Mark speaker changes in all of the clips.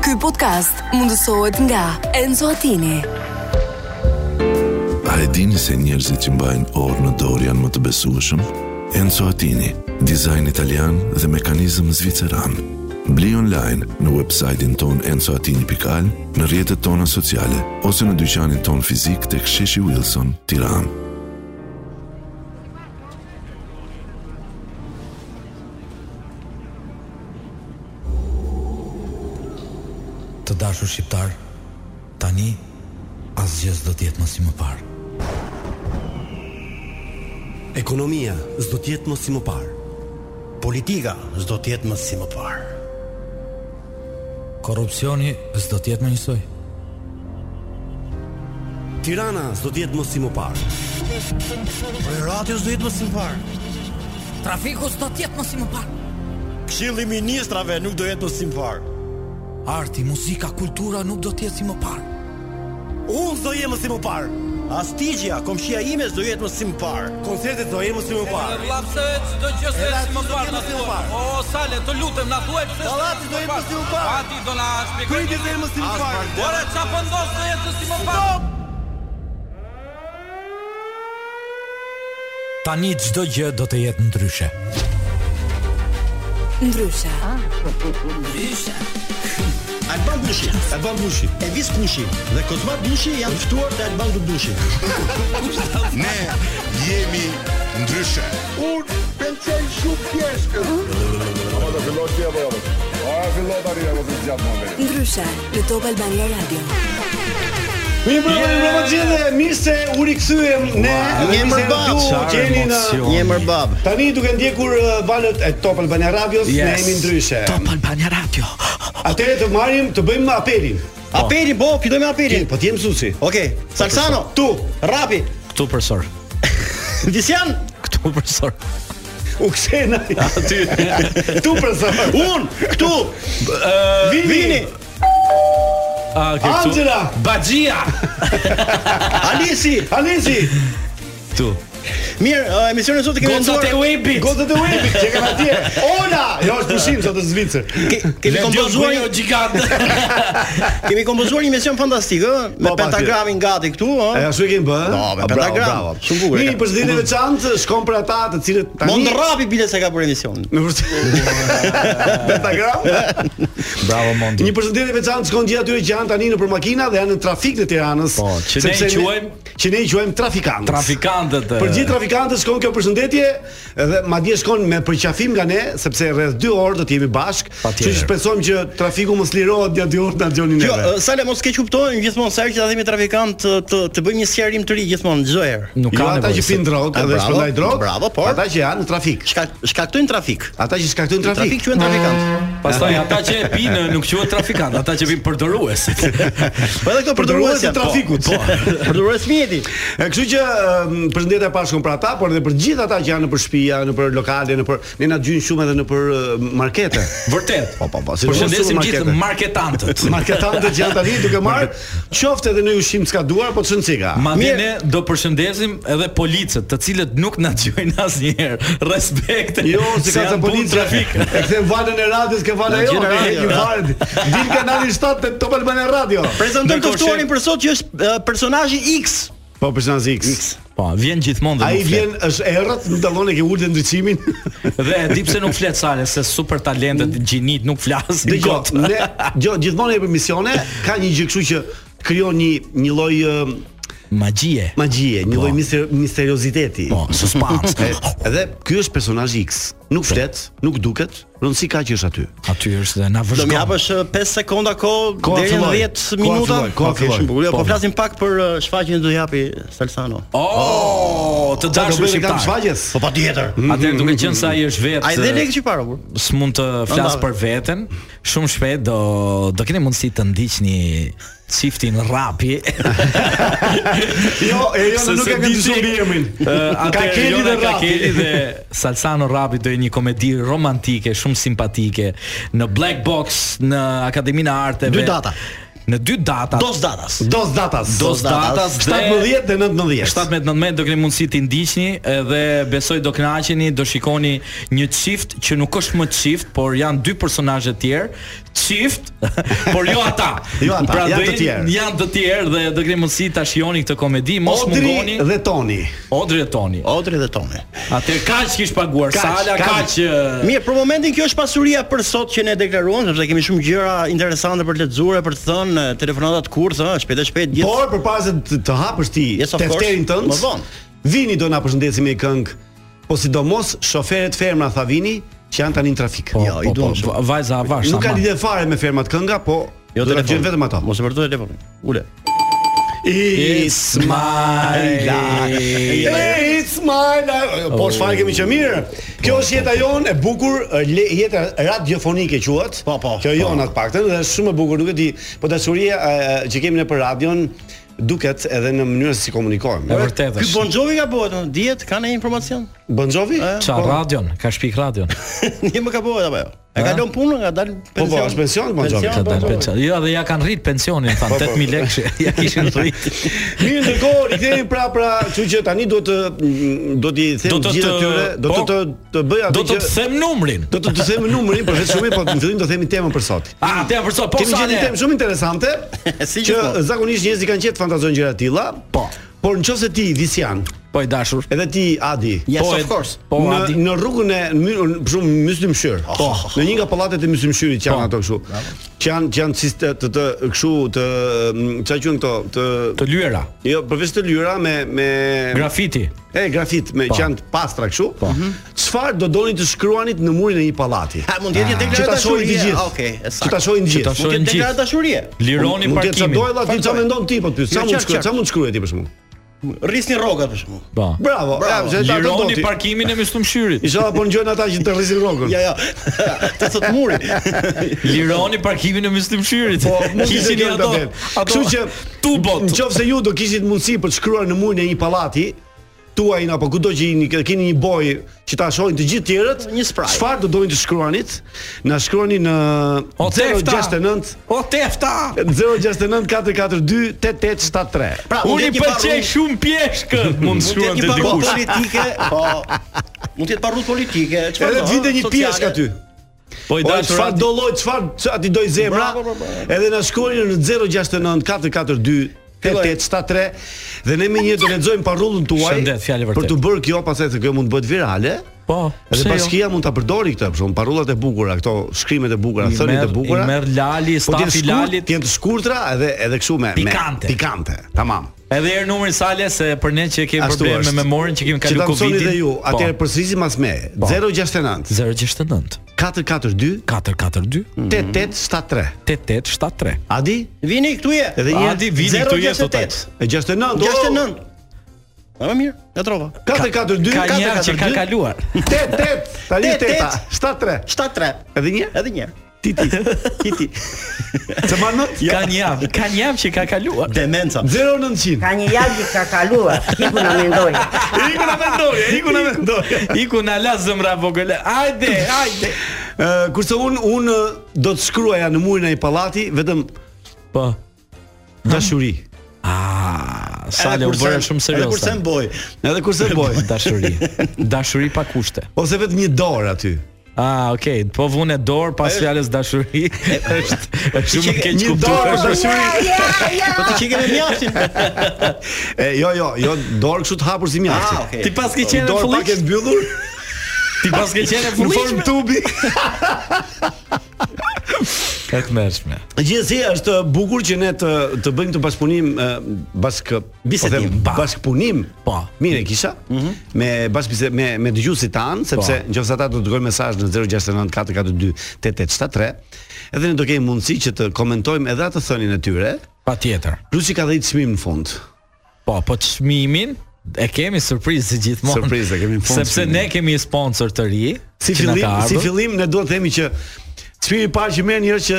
Speaker 1: Ky podcast mundësohet nga Enzo Attini.
Speaker 2: A e dini se njerëzit që mbajnë orë në dorë janë më të besueshëm? Enzo Attini, dizajn italian dhe mekanizëm zviceran. Bli online në website-in ton enzoatini.al, në rjetët tona sociale, ose në dyqanin ton fizik të ksheshi Wilson, tiran.
Speaker 3: Të dashur shqiptar, tani asgjë s'do të jetë më si më parë.
Speaker 4: Ekonomia s'do të jetë më si më parë. Politika s'do të jetë më si më parë.
Speaker 3: Korrupsioni s'do të jetë më njësoj.
Speaker 4: Tirana s'do të jetë më si më parë. Rati s'do jetë më si më parë.
Speaker 5: Trafiku s'do të jetë më si më parë.
Speaker 4: Këshilli i ministrave nuk do jetë më si më parë.
Speaker 3: Arti, muzika, kultura nuk do të jetë si më parë.
Speaker 4: Unë s'do jem më si më parë. Astigja, komshia ime s'do jetë më si më parë. Koncertet do jenë më si më parë.
Speaker 6: Lapse çdo gjë se
Speaker 4: Edhe
Speaker 6: si më
Speaker 4: aty do
Speaker 6: parë
Speaker 4: t'jemi
Speaker 6: na
Speaker 4: si më
Speaker 6: thuaj.
Speaker 4: parë.
Speaker 6: O sale, të lutem na thuaj pse.
Speaker 4: Dallati do jetë më si më parë.
Speaker 6: Ati do na shpjegoj.
Speaker 4: Kriti do jenë më si më parë.
Speaker 6: Ora çfarë po ndos të jetë si më parë?
Speaker 3: Tani çdo gjë do të jetë ndryshe.
Speaker 1: Ndryshe,
Speaker 4: Alban Bushi, Alban Bushi, Elvis Kushi dhe Kozma Bushi janë ftuar te Alban Bushi.
Speaker 7: Ne jemi ndryshe.
Speaker 1: ndryshe në Top Albania Radio.
Speaker 8: Mirë mbrëmë, mirë mbrëmë gjithë, mirë se u rikthyem ne dhe
Speaker 4: Një
Speaker 8: mirë se
Speaker 4: mërbab,
Speaker 8: ju
Speaker 4: çfarë
Speaker 8: jeni në
Speaker 4: Një mërbab.
Speaker 8: Tani duke ndjekur uh, valët e Top Albania Radios, ne jemi ndryshe. Top Albania Radio. Atëherë të marrim, të bëjmë apelin.
Speaker 4: Apeli, Po. bo, fillojmë me apelin.
Speaker 8: Po ti je mësuesi.
Speaker 4: Okej, Salsano,
Speaker 8: Tu,
Speaker 4: rapi.
Speaker 3: Ktu profesor.
Speaker 4: Disian,
Speaker 3: Ktu profesor.
Speaker 8: u kthena. Aty. tu profesor.
Speaker 4: un këtu.
Speaker 8: Vini. Vini.
Speaker 3: Ah, okay,
Speaker 8: Angela,
Speaker 3: Baxhia.
Speaker 4: Alisi.
Speaker 8: Alesi,
Speaker 4: Mirë, uh, emisionin sot e kemi
Speaker 3: Gonzat e
Speaker 4: menduar-
Speaker 3: webit.
Speaker 8: gozët e webit që kanë atje. Ola, jo është pushim sot në Zvicër.
Speaker 4: Ke- Kemi kompozuar
Speaker 3: Dëgjoj jo gjigant.
Speaker 4: kemi kompozuar një mision fantastik, ë, me
Speaker 8: Po, patjetër.
Speaker 4: pentagramin gati këtu,
Speaker 8: E
Speaker 4: ë.
Speaker 8: ashtu e kemi bë?
Speaker 4: No, me
Speaker 8: A,
Speaker 4: pentagram.
Speaker 8: Bravo, bravo.
Speaker 4: Shumë bukur e
Speaker 8: Një
Speaker 4: ka.
Speaker 8: përshëndetje veçantë shkon për ata të cilët tani
Speaker 4: Mund rapi bile se ka për emision.
Speaker 8: Me vërtet. Pentagram.
Speaker 3: Bravo Mondi.
Speaker 8: Një përshëndetje veçantë shkon gjithë atyre që janë tani nëpër makina dhe janë në trafik të Tiranës. Po,
Speaker 3: që ne i quajmë-
Speaker 8: që ne i quajmë trafikantës.
Speaker 3: Trafikantët. e-
Speaker 8: Për gjithë trafikantët shkon kjo përshëndetje dhe madje shkon me përqafim nga ne sepse rreth 2 orë do të jemi bashk.
Speaker 3: Patjetër.
Speaker 8: Kështu që shpresojmë që trafiku mos lirohet gjatë 2 orë na dëgjoni
Speaker 4: Jo,
Speaker 8: neve.
Speaker 4: ë, Sale mos ke kuptojnë gjithmonë sa herë që ta themi trafikant të të, të bëjmë një sqarim të ri gjithmonë çdo herë.
Speaker 3: Nuk
Speaker 8: Jo
Speaker 3: ka
Speaker 8: ata që
Speaker 3: nevojë.
Speaker 8: pinë drogë
Speaker 4: A,
Speaker 8: dhe
Speaker 4: bravo,
Speaker 8: shpërndajnë drogë,
Speaker 4: bravo, por-
Speaker 8: ata që janë në trafik.
Speaker 4: Shka, shkaktojnë trafik.
Speaker 8: Ata që shkaktojnë trafik.
Speaker 4: Trafik quhen trafikant.
Speaker 6: Pastaj ata që e pinë nuk quhet trafikant, ata që pinë përdorues.
Speaker 4: Po edhe këto
Speaker 8: Përdorues të
Speaker 4: përdoruesja.
Speaker 8: trafikut.
Speaker 4: Përdorues mjeti.
Speaker 8: E kështu që um, përshëndetje e pashkon për ata, por edhe për gjithë ata që janë nëpër shtëpia, nëpër lokale, nëpër ne na gjyjnë shumë edhe nëpër uh, markete.
Speaker 6: Vërtet.
Speaker 8: Po, po, po, si
Speaker 6: Përshëndesim
Speaker 8: mos
Speaker 6: gjithë marketantët.
Speaker 8: Marketantët që janë tani duke marrë qoftë edhe në ushqim s'ka duar, po çon cika.
Speaker 6: Madje
Speaker 4: Mirë.
Speaker 6: ne do përshëndesim edhe policët, të cilët nuk na dëgjojnë asnjëherë. Respekt.
Speaker 8: Jo, si ka
Speaker 6: janë
Speaker 8: të
Speaker 6: punë
Speaker 8: policë
Speaker 6: trafik.
Speaker 8: E kthem valën e radios ke valë
Speaker 4: Na
Speaker 8: ajo,
Speaker 4: gjena
Speaker 8: e
Speaker 4: radio,
Speaker 8: një
Speaker 4: ja.
Speaker 8: valë. Vin kanali 7 të Top Albana Radio.
Speaker 4: Prezantojmë të
Speaker 6: Ndërkohë,
Speaker 4: ftuarin për sot që është ë, personazhi X.
Speaker 8: Po personazhi X.
Speaker 6: Po, vjen gjithmonë dhe
Speaker 8: Ai
Speaker 6: nuk flet.
Speaker 8: vjen është errët, nuk dallon e ke ulë ndriçimin.
Speaker 6: Dhe e di pse nuk flet sale se super talentet gjinit nuk flasin
Speaker 8: Dëgjoj,
Speaker 6: kot.
Speaker 8: ne jo gjithmonë e për misione ka një gjë kështu që krijon një një lloj ë,
Speaker 6: Magjie.
Speaker 8: magjie, një
Speaker 6: Po.
Speaker 8: lloj mister, misterioziteti.
Speaker 6: Po, suspans.
Speaker 8: E- Edhe ky është personazhi X. Nuk flet, nuk duket, rëndsi ka që është aty.
Speaker 6: Aty është dhe na
Speaker 4: Do më
Speaker 6: vëzhgon.
Speaker 4: japësh 5 sekonda kohë
Speaker 8: Koha
Speaker 4: deri në
Speaker 8: filloi.
Speaker 4: 10
Speaker 8: Koha
Speaker 4: minuta.
Speaker 8: filloi, koha
Speaker 4: Okej,
Speaker 8: filloi.
Speaker 4: shumë bukur. Jo,
Speaker 8: Po.
Speaker 4: po flasim pak për ë, shfaqjen që do japi Salsano.
Speaker 6: Oh, të
Speaker 8: Sa do
Speaker 6: dashur
Speaker 8: bëj reklam
Speaker 6: shqiptar.
Speaker 8: shfaqjes?
Speaker 4: Po patjetër.
Speaker 6: Mm-hmm. Atëherë duke qenë se ai është vetë.
Speaker 4: Ai dhe lekë që para kur.
Speaker 6: s'mund të flas
Speaker 4: Andave.
Speaker 6: për veten. Shumë shpejt do do keni mundësi të ndiqni çiftin rapi.
Speaker 8: Jo, e jo
Speaker 6: Se
Speaker 8: nuk
Speaker 6: se
Speaker 8: e kam
Speaker 6: disi-
Speaker 8: shumë emrin.
Speaker 6: Atë
Speaker 8: Kakeli
Speaker 6: Jona
Speaker 8: dhe Rapi.
Speaker 6: Kakeli dhe Salsano Rapi do jetë një komedi romantike shumë simpatike në Black Box në Akademinë e Arteve.
Speaker 4: Dy data.
Speaker 6: në dy data
Speaker 4: Dos datas.
Speaker 8: Dos datas.
Speaker 6: Dos datas dhe-
Speaker 8: 17 dhe 19.
Speaker 6: 17 19 do keni mundësi të ndiqni edhe besoj do kënaqeni, do shikoni një çift që nuk është më çift, por janë dy personazhe të tjerë, çift, por jo ata.
Speaker 8: Jo ata,
Speaker 6: pra,
Speaker 8: janë
Speaker 6: do
Speaker 8: të tjerë.
Speaker 6: jenë- Janë të tjerë dhe do keni mundësi ta shihoni këtë komedi, mos mungoni.
Speaker 8: Odri dhe Toni.
Speaker 6: Odri dhe Toni.
Speaker 4: Odri dhe Tomi.
Speaker 6: Atëherë kaq kish paguar
Speaker 8: Kaq,
Speaker 6: sala,
Speaker 8: kaq.
Speaker 6: kaq ë,
Speaker 4: Mirë, për momentin kjo është pasuria për sot që ne deklaruam, sepse kemi shumë gjëra interesante për të lexuar, për të thënë, telefonata të kurtha, shpejt e shpejt gjithë.
Speaker 8: Por përpara se të, të hapësh ti
Speaker 4: Yes, of
Speaker 8: tefterin
Speaker 4: course.
Speaker 8: tënd,
Speaker 4: Më vonë.
Speaker 8: Vini do na përshëndesim me këngë, po sidomos shoferët ferma tha Vini që janë tani në trafik.
Speaker 6: Po,
Speaker 4: Jo, i
Speaker 6: po,
Speaker 4: duam
Speaker 6: po,
Speaker 4: shumë.
Speaker 6: va- Vajza avash.
Speaker 8: Nuk ka
Speaker 6: aman.
Speaker 8: lidhje fare me fermat kënga, po jo do të gjejnë vetëm ato.
Speaker 4: Mos e vërtoj telefonin. Ule.
Speaker 6: It's my life.
Speaker 8: It's my life. Po çfarë kemi që mirë. Kjo është jeta jonë e bukur, e le- jeta radiofonike quhet.
Speaker 4: Po, po,
Speaker 8: Kjo
Speaker 4: po.
Speaker 8: jonë atë paktën dhe është shumë e bukur, nuk e di, po dashuria e, që kemi ne për radion duket edhe në mënyrën se si komunikojmë.
Speaker 6: E vërtetë
Speaker 4: Ky
Speaker 6: është.
Speaker 4: Bon Jovi ka bëhet, më dihet, ka ne informacion?
Speaker 8: Bon Jovi?
Speaker 6: Qa radion, ka shpik radion.
Speaker 4: Një më ka bëhet apo jo? E ka
Speaker 6: Ha?
Speaker 4: lënë punën, ka dalë pension. po.
Speaker 8: po, është pension, Bon Jovi.
Speaker 6: Ka
Speaker 4: Bon
Speaker 6: dalë
Speaker 4: Jovi.
Speaker 6: pension. Jo, dhe ja kanë rrit pensionin, thanë 8000 lekë. Ja kishin rrit.
Speaker 8: Po, Mirë, ndërkohë rikthehemi prapë, pra, kështu që tani do të mm, do t'i
Speaker 6: Do
Speaker 8: them
Speaker 6: të
Speaker 8: gjithë
Speaker 6: të-
Speaker 8: atyre, do të
Speaker 6: po,
Speaker 8: të të bëj atë
Speaker 6: Do të
Speaker 8: që
Speaker 6: të them numrin.
Speaker 8: do të të them numrin, por vetë shumë po në fillim do themi temën për sot.
Speaker 6: A, te për sot, po
Speaker 8: Kemi
Speaker 6: sa
Speaker 8: gjetë një temë shumë interesante,
Speaker 4: Si
Speaker 8: që
Speaker 4: gjithmonë.
Speaker 8: zakonisht njerëzit kanë qenë të fantazojnë gjëra të tilla.
Speaker 6: Po.
Speaker 8: Por nëse ti Visian,
Speaker 6: Po i dashur.
Speaker 8: edhe ti Adi,
Speaker 4: Yes,
Speaker 6: Po,
Speaker 4: of
Speaker 6: e-
Speaker 4: course.
Speaker 6: Po,
Speaker 8: në,
Speaker 6: Adi.
Speaker 8: në rrugën e në mënyrë- në- për shumë myslimshyr.
Speaker 6: Po.
Speaker 8: Në një nga pallatet e myslimshyrit që janë ato kështu. Që janë që janë si të të, të kështu të mm, çfarë quhen këto, të
Speaker 6: Të lyera.
Speaker 8: Jo, përveç të lyra me me
Speaker 6: Grafiti. Po. Mhm.
Speaker 8: e grafit me që janë të pastra kështu. Çfarë do doni të shkruanit në murin e një pallati? Ah.
Speaker 4: Ha, mund të jetë një
Speaker 8: Që
Speaker 4: deklaratë
Speaker 8: ta shohin të
Speaker 4: dashurie.
Speaker 8: gjithë.
Speaker 4: Ah, Okej, e
Speaker 8: Që ta
Speaker 4: saktë.
Speaker 8: shohin të gjithë.
Speaker 6: ta shohin
Speaker 4: Mund të
Speaker 6: të
Speaker 4: jetë
Speaker 6: gjithë.
Speaker 4: deklaratë dashurie.
Speaker 6: Lironi
Speaker 8: Mund të jetë
Speaker 6: parkimin.
Speaker 8: çfarë dojë ti çfarë
Speaker 4: Faktoj.
Speaker 8: mendon ti po të pyet. Sa
Speaker 4: Jo,
Speaker 8: mund të
Speaker 4: qartë,
Speaker 8: shkruaj, sa
Speaker 4: qartë.
Speaker 8: mund të shkruaj ti për shembull?
Speaker 4: Rrisni rrogat për shkakun.
Speaker 6: Po.
Speaker 8: Bravo. ja,
Speaker 4: Bravo.
Speaker 8: se ta- ta do
Speaker 6: Lironi
Speaker 8: ti.
Speaker 6: parkimin e myslimshyrit.
Speaker 8: Inshallah po ngjojnë ata që të rrisin rrogën.
Speaker 4: Ja, ja. Të thot muri.
Speaker 6: Lironi parkimin e myslimshyrit.
Speaker 8: Po mund të
Speaker 6: Kishin i
Speaker 8: gjejnë
Speaker 6: ato.
Speaker 8: ato. Kështu që
Speaker 6: tubot.
Speaker 8: Nëse ju do kishit mundësi për të shkruar në murin e një pallati, tuajin apo kudo që jeni, ke- keni një bojë që ta shohin të gjithë tjerët,
Speaker 4: Një spray.
Speaker 8: Çfarë do doin të shkruanit? Na shkruani në
Speaker 6: O tefta.
Speaker 8: 069
Speaker 6: O tefta.
Speaker 8: 069 442 8873.
Speaker 4: Pra, mund të
Speaker 6: Unë
Speaker 4: jetë
Speaker 6: i
Speaker 4: një
Speaker 6: pëlqej
Speaker 4: parru-
Speaker 6: shumë pjeshkën. Mund të
Speaker 4: Mund të jetë
Speaker 6: shkruan
Speaker 4: një
Speaker 6: të dikush.
Speaker 4: parru politike, po mund të jetë parru politike, çfarë
Speaker 8: Edhe
Speaker 4: do,
Speaker 8: të vinte një
Speaker 4: sociale.
Speaker 8: pjeshk aty.
Speaker 6: Po i
Speaker 8: Po
Speaker 6: dashur.
Speaker 8: çfarë do lloj, çfarë çfarë ti doj zemra.
Speaker 4: Bravo, bravo.
Speaker 8: Edhe na shkruani në 069 442 8873 dhe ne më një do lexojmë parrullën tuaj.
Speaker 6: Shëndet, fjalë vërtet.
Speaker 8: Për të bërë kjo pastaj se kjo mund të bëhet virale.
Speaker 6: Po, pse
Speaker 8: Edhe
Speaker 6: jo?
Speaker 8: bashkia mund ta përdori këtë, për shembull, parullat e bukura, këto shkrimet e bukura,
Speaker 6: I
Speaker 8: thënit e
Speaker 6: merr-
Speaker 8: bukura.
Speaker 6: i merr Lali,
Speaker 8: Po t'jenë
Speaker 6: stafi
Speaker 8: shkurt-
Speaker 6: Lalit.
Speaker 8: t'jenë të shkurtra edhe edhe kështu me me-
Speaker 6: Pikante.
Speaker 8: pikante, tamam.
Speaker 6: Edhe erë numrin sale se për ne që kemi
Speaker 8: Ashtu
Speaker 6: probleme
Speaker 8: është.
Speaker 6: me memorin që kemi
Speaker 8: Që
Speaker 6: kalu
Speaker 8: ta mësoni
Speaker 6: Covidin. po.
Speaker 8: dhe ju, atëherë përsërisim mas me 069
Speaker 6: 069
Speaker 8: 442
Speaker 6: 442
Speaker 9: Mhm.
Speaker 8: 8873.
Speaker 6: 8873.
Speaker 8: Adi?
Speaker 4: Vini këtu je.
Speaker 8: Edhe një
Speaker 6: Adi vini këtu jetë totat.
Speaker 4: 068.
Speaker 8: E 69. o,
Speaker 4: 69. A më mirë, e trova.
Speaker 8: 442
Speaker 6: Ka një herë që ka kaluar.
Speaker 8: 88, tani
Speaker 4: 8,
Speaker 8: 8, 73.
Speaker 4: 73.
Speaker 8: Edhe një?
Speaker 4: Edhe një. Ti ti. Ti ti.
Speaker 8: Se ma nët?
Speaker 6: Ka një javë, ka një javë që ka kaluar.
Speaker 4: Demenca.
Speaker 8: 0900.
Speaker 9: Ka një javë që ka kaluar, iku na mendoj.
Speaker 8: Iku na mendoje, iku na mendoje.
Speaker 6: Iku na la zëmra vogël. Hajde, hajde.
Speaker 8: Ë, kurse un un ë, do të shkruaja në murin e një pallati vetëm
Speaker 6: Po.
Speaker 8: dashuri.
Speaker 6: Ah, sale u bëra shumë
Speaker 4: Edhe kurse
Speaker 6: serioze.
Speaker 4: mboj.
Speaker 8: Edhe kurse boj,
Speaker 6: Dashuri. Dashuri pa kushte.
Speaker 8: ose vetëm një dorë aty.
Speaker 6: Ah, okay. Po vune dorë pas fjalës dashuri. Është është shumë e keq
Speaker 8: Një dorë
Speaker 6: kuptuar.
Speaker 8: dashuri.
Speaker 9: Ja, ja.
Speaker 4: Po ti çike me mjaftin.
Speaker 8: E jo, jo, jo dorë kështu të hapur si mjafti.
Speaker 4: Ah, okay.
Speaker 6: Ti pas ke qenë
Speaker 8: Po, Dorë pak e
Speaker 6: fullish.
Speaker 8: mbyllur
Speaker 6: Ti pas ke qenë
Speaker 8: në formë
Speaker 6: fullish.
Speaker 8: tubi.
Speaker 6: Ka të mërshme.
Speaker 8: Gjithsesi është bukur që ne të të bëjmë të bashkëpunim e, bashk
Speaker 6: Bisedim,
Speaker 8: po them,
Speaker 6: pa.
Speaker 8: bashkëpunim.
Speaker 6: Po. Mhm.
Speaker 8: Mirë e kisha. Me bashkë me me dëgjuesit tan, sepse
Speaker 6: Po.
Speaker 8: nëse ata do të dërgojnë mesazh në 0694428873, edhe ne do kemi mundësi që të komentojmë edhe atë thënien e tyre,
Speaker 6: Patjetër.
Speaker 8: plus që ka dhe i çmim në fund.
Speaker 6: Po, po çmimin e kemi surprizë gjithmonë.
Speaker 8: Surprizë, e kemi në fund
Speaker 6: Sepse
Speaker 8: çmimin.
Speaker 6: ne kemi një sponsor të ri.
Speaker 8: Si
Speaker 6: që na
Speaker 8: fillim,
Speaker 6: ka
Speaker 8: si
Speaker 6: ardhur.
Speaker 8: fillim ne duhet të themi që çmimi i parë që merr njerëz që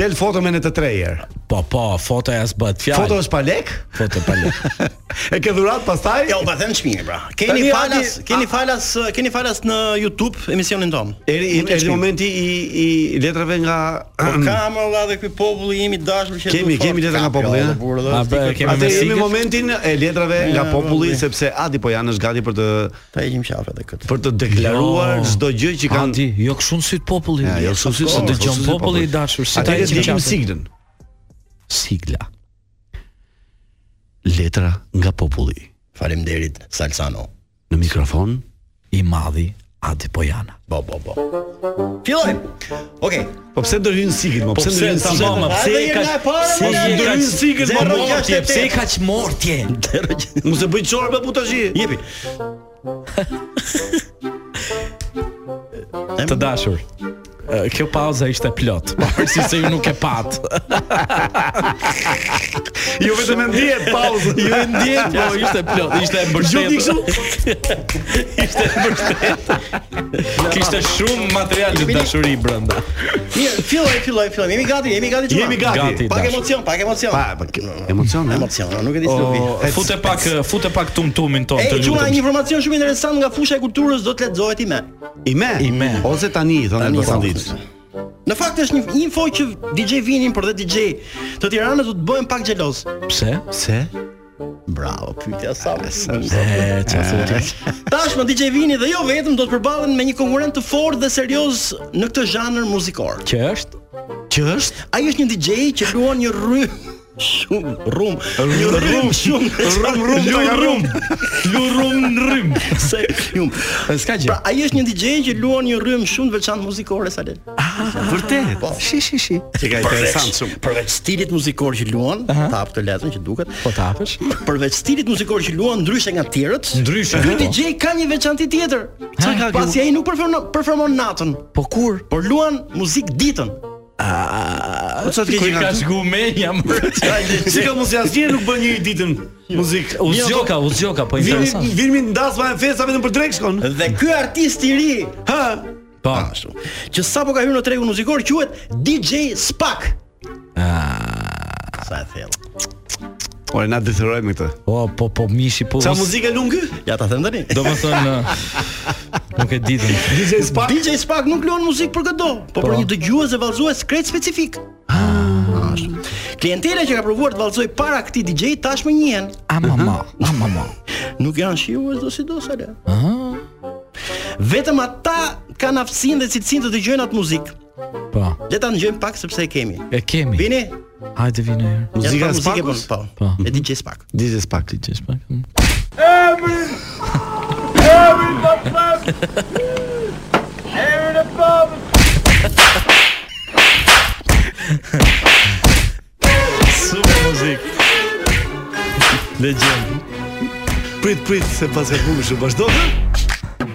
Speaker 8: del foto me ne të tre herë.
Speaker 6: Po, po, foto e as bëhet fjalë.
Speaker 8: Foto është pa lek?
Speaker 6: foto pa lek.
Speaker 8: E ke dhurat pastaj?
Speaker 4: Ja, u pa them çmimin pra. Keni
Speaker 8: Tani,
Speaker 4: falas,
Speaker 8: Adi,
Speaker 4: keni
Speaker 8: a-
Speaker 4: falas, keni falas në YouTube emisionin ton.
Speaker 8: Eri
Speaker 4: Nuk e
Speaker 8: eri
Speaker 4: çmim.
Speaker 8: momenti i i letrave nga
Speaker 4: Po ka më valla dhe ky populli im i dashur që
Speaker 8: Kemi-
Speaker 4: duhet
Speaker 8: kemi
Speaker 4: fort.
Speaker 8: letra nga
Speaker 4: Ka,
Speaker 8: populli,
Speaker 4: jo,
Speaker 8: ha?
Speaker 4: dhe burrë, dhe
Speaker 6: A,
Speaker 4: stikë,
Speaker 6: bra, kemi
Speaker 4: atë
Speaker 8: Atë
Speaker 6: me
Speaker 8: jemi
Speaker 6: sigët?
Speaker 8: momentin e letrave nga
Speaker 4: Ja,
Speaker 8: populli
Speaker 4: populli.
Speaker 8: sepse Adi po janë është gati për të
Speaker 4: Ta i gjim qafe edhe këtë.
Speaker 8: për të deklaruar çdo gjë që kanë
Speaker 6: Jo. Adi, jo kështu në syt populli.
Speaker 8: Ja, jo kështu në
Speaker 6: Se
Speaker 8: syt populli,
Speaker 6: dëgjon
Speaker 8: kështu në syt
Speaker 6: populli i
Speaker 8: populli.
Speaker 6: dashur, si ta
Speaker 8: Atëherë
Speaker 6: heqim
Speaker 8: ndjekim
Speaker 6: qafën?
Speaker 8: siglën.
Speaker 6: Sigla.
Speaker 8: Letra nga populli.
Speaker 4: Faleminderit Salsano.
Speaker 8: Në mikrofon
Speaker 6: I madhi Adi Pojana.
Speaker 4: Bo bo bo. Fillojmë. Okej.
Speaker 8: Po pse do hyn sigët, mo? Pse do hyn
Speaker 6: ta
Speaker 8: sigët?
Speaker 6: mama, pse
Speaker 4: Hajde,
Speaker 6: e
Speaker 4: jemi
Speaker 6: ka
Speaker 4: nga e para,
Speaker 6: pse e
Speaker 4: mama.
Speaker 6: ka
Speaker 4: Ndërhyn sigët,
Speaker 6: Zero,
Speaker 4: mama,
Speaker 6: gjashtë,
Speaker 4: mortje,
Speaker 6: pse e ka që mortje?
Speaker 8: Mos e bëj çorë me putashi.
Speaker 4: Jepi.
Speaker 6: Të dashur. ë, Kjo pauza ishte plot, pavarësisht se ju nuk e pat.
Speaker 8: Jo vetëm e ndihet pauzë.
Speaker 6: Ju e ndjen, po ishte plot, ishte e mbështetur.
Speaker 8: Gjoti kështu.
Speaker 6: Kishte shumë material të dashuri brenda.
Speaker 4: Mirë, filloj, filloj, filloj. Jemi gati, jemi gati. çuna.
Speaker 8: Jemi gati.
Speaker 6: Gati.
Speaker 4: Pak
Speaker 6: dashur.
Speaker 4: emocion, pak emocion.
Speaker 8: Pa, pa ke- emocion, eh? ha?
Speaker 4: Emocion, nuk e di si lupi.
Speaker 6: O, fute pak, fute pak tumtumin ton
Speaker 4: E
Speaker 6: të
Speaker 4: çuna një
Speaker 6: lutem.
Speaker 4: informacion shumë interesant nga fusha e kulturës do të lexohet i me.
Speaker 8: Ime.
Speaker 6: Ime.
Speaker 8: Ose tani, thonë
Speaker 4: Tani,
Speaker 8: në Sandit.
Speaker 4: Në fakt është një info që DJ Vinin por dhe DJ të Tiranës do të bëhen pak xhelos.
Speaker 6: Pse?
Speaker 8: Pse?
Speaker 4: Bravo, pyetja sa.
Speaker 6: E çfarë?
Speaker 4: Tashmë DJ Vini dhe jo vetëm do të përballen me një konkurrent të fortë dhe serioz në këtë zhanër muzikor.
Speaker 6: Që është?
Speaker 8: Që është?
Speaker 4: Ai është një DJ që luan një rrym shumë rrum, një rrym shumë rrum rrum
Speaker 6: Lu rum. Lu rum në rrym.
Speaker 4: se jum.
Speaker 6: S'ka gjë.
Speaker 4: Pra ai është një DJ që luan një rrym shumë të veçantë muzikore sa le.
Speaker 6: Ah,
Speaker 8: Vërtet.
Speaker 4: Shi shi shi.
Speaker 8: Që ka interesant shumë.
Speaker 4: Përveç stilit muzikor që luan, ta hap të letrën që duket.
Speaker 6: Po tapesh?
Speaker 4: Përveç stilit muzikor që luan ndryshe nga të tjerët,
Speaker 6: Ndryshe,
Speaker 4: Ky
Speaker 6: po.
Speaker 4: DJ ka një veçanti tjetër. Çka ka? Pasi ai nuk performon performon natën,
Speaker 6: Po kur?
Speaker 4: por luan muzik ditën.
Speaker 8: Po çfarë
Speaker 6: Kur
Speaker 8: dikoj
Speaker 6: ka
Speaker 8: nga?
Speaker 6: shku me jam.
Speaker 8: Si ka mos asnjë nuk bën një ditën muzikë.
Speaker 6: U zgjoka, u zgjoka, po
Speaker 8: Vini
Speaker 6: interesant.
Speaker 8: vini mi ndas me festa vetëm për drek shkon.
Speaker 4: Dhe ky artist i ri,
Speaker 8: Ha.
Speaker 6: Po.
Speaker 4: ashtu, Ah, që sapo ka hyrë në tregun muzikor quhet DJ Spak. Ah, sa e thellë.
Speaker 8: Ore na detyrojmë këtë.
Speaker 6: O, po po mishi po.
Speaker 8: Sa muzikë lun ky?
Speaker 4: Ja ta them tani.
Speaker 6: Do më thënë
Speaker 4: ah.
Speaker 6: Nuk e ditën
Speaker 8: DJ Spark.
Speaker 4: DJ Spak nuk luan muzikë për këto, po për një dëgjues e vallëzues krejt specifik. Ah, ashtu. Klientela që ka provuar të vallëzoj para këtij DJ tashmë njihen.
Speaker 6: A mama, a mama
Speaker 4: Nuk janë shijues do sidos ale. Aha. Vetëm ata kanë aftësinë dhe cilësinë të dëgjojnë atë muzikë.
Speaker 6: Po,
Speaker 4: Le ta ndjejmë pak sepse e kemi.
Speaker 6: e kemi
Speaker 4: Vini,
Speaker 6: Hajde vini e herë
Speaker 8: Muzika
Speaker 4: ja,
Speaker 8: e
Speaker 4: pa, muzikë
Speaker 8: Sparkut.
Speaker 4: po.
Speaker 6: Po.
Speaker 4: po. E DJ Spak.
Speaker 8: DJ Spark.
Speaker 6: Që shpak
Speaker 8: Super muzikë.
Speaker 6: Legend
Speaker 8: Prit prit se pas e humësh vazhdo.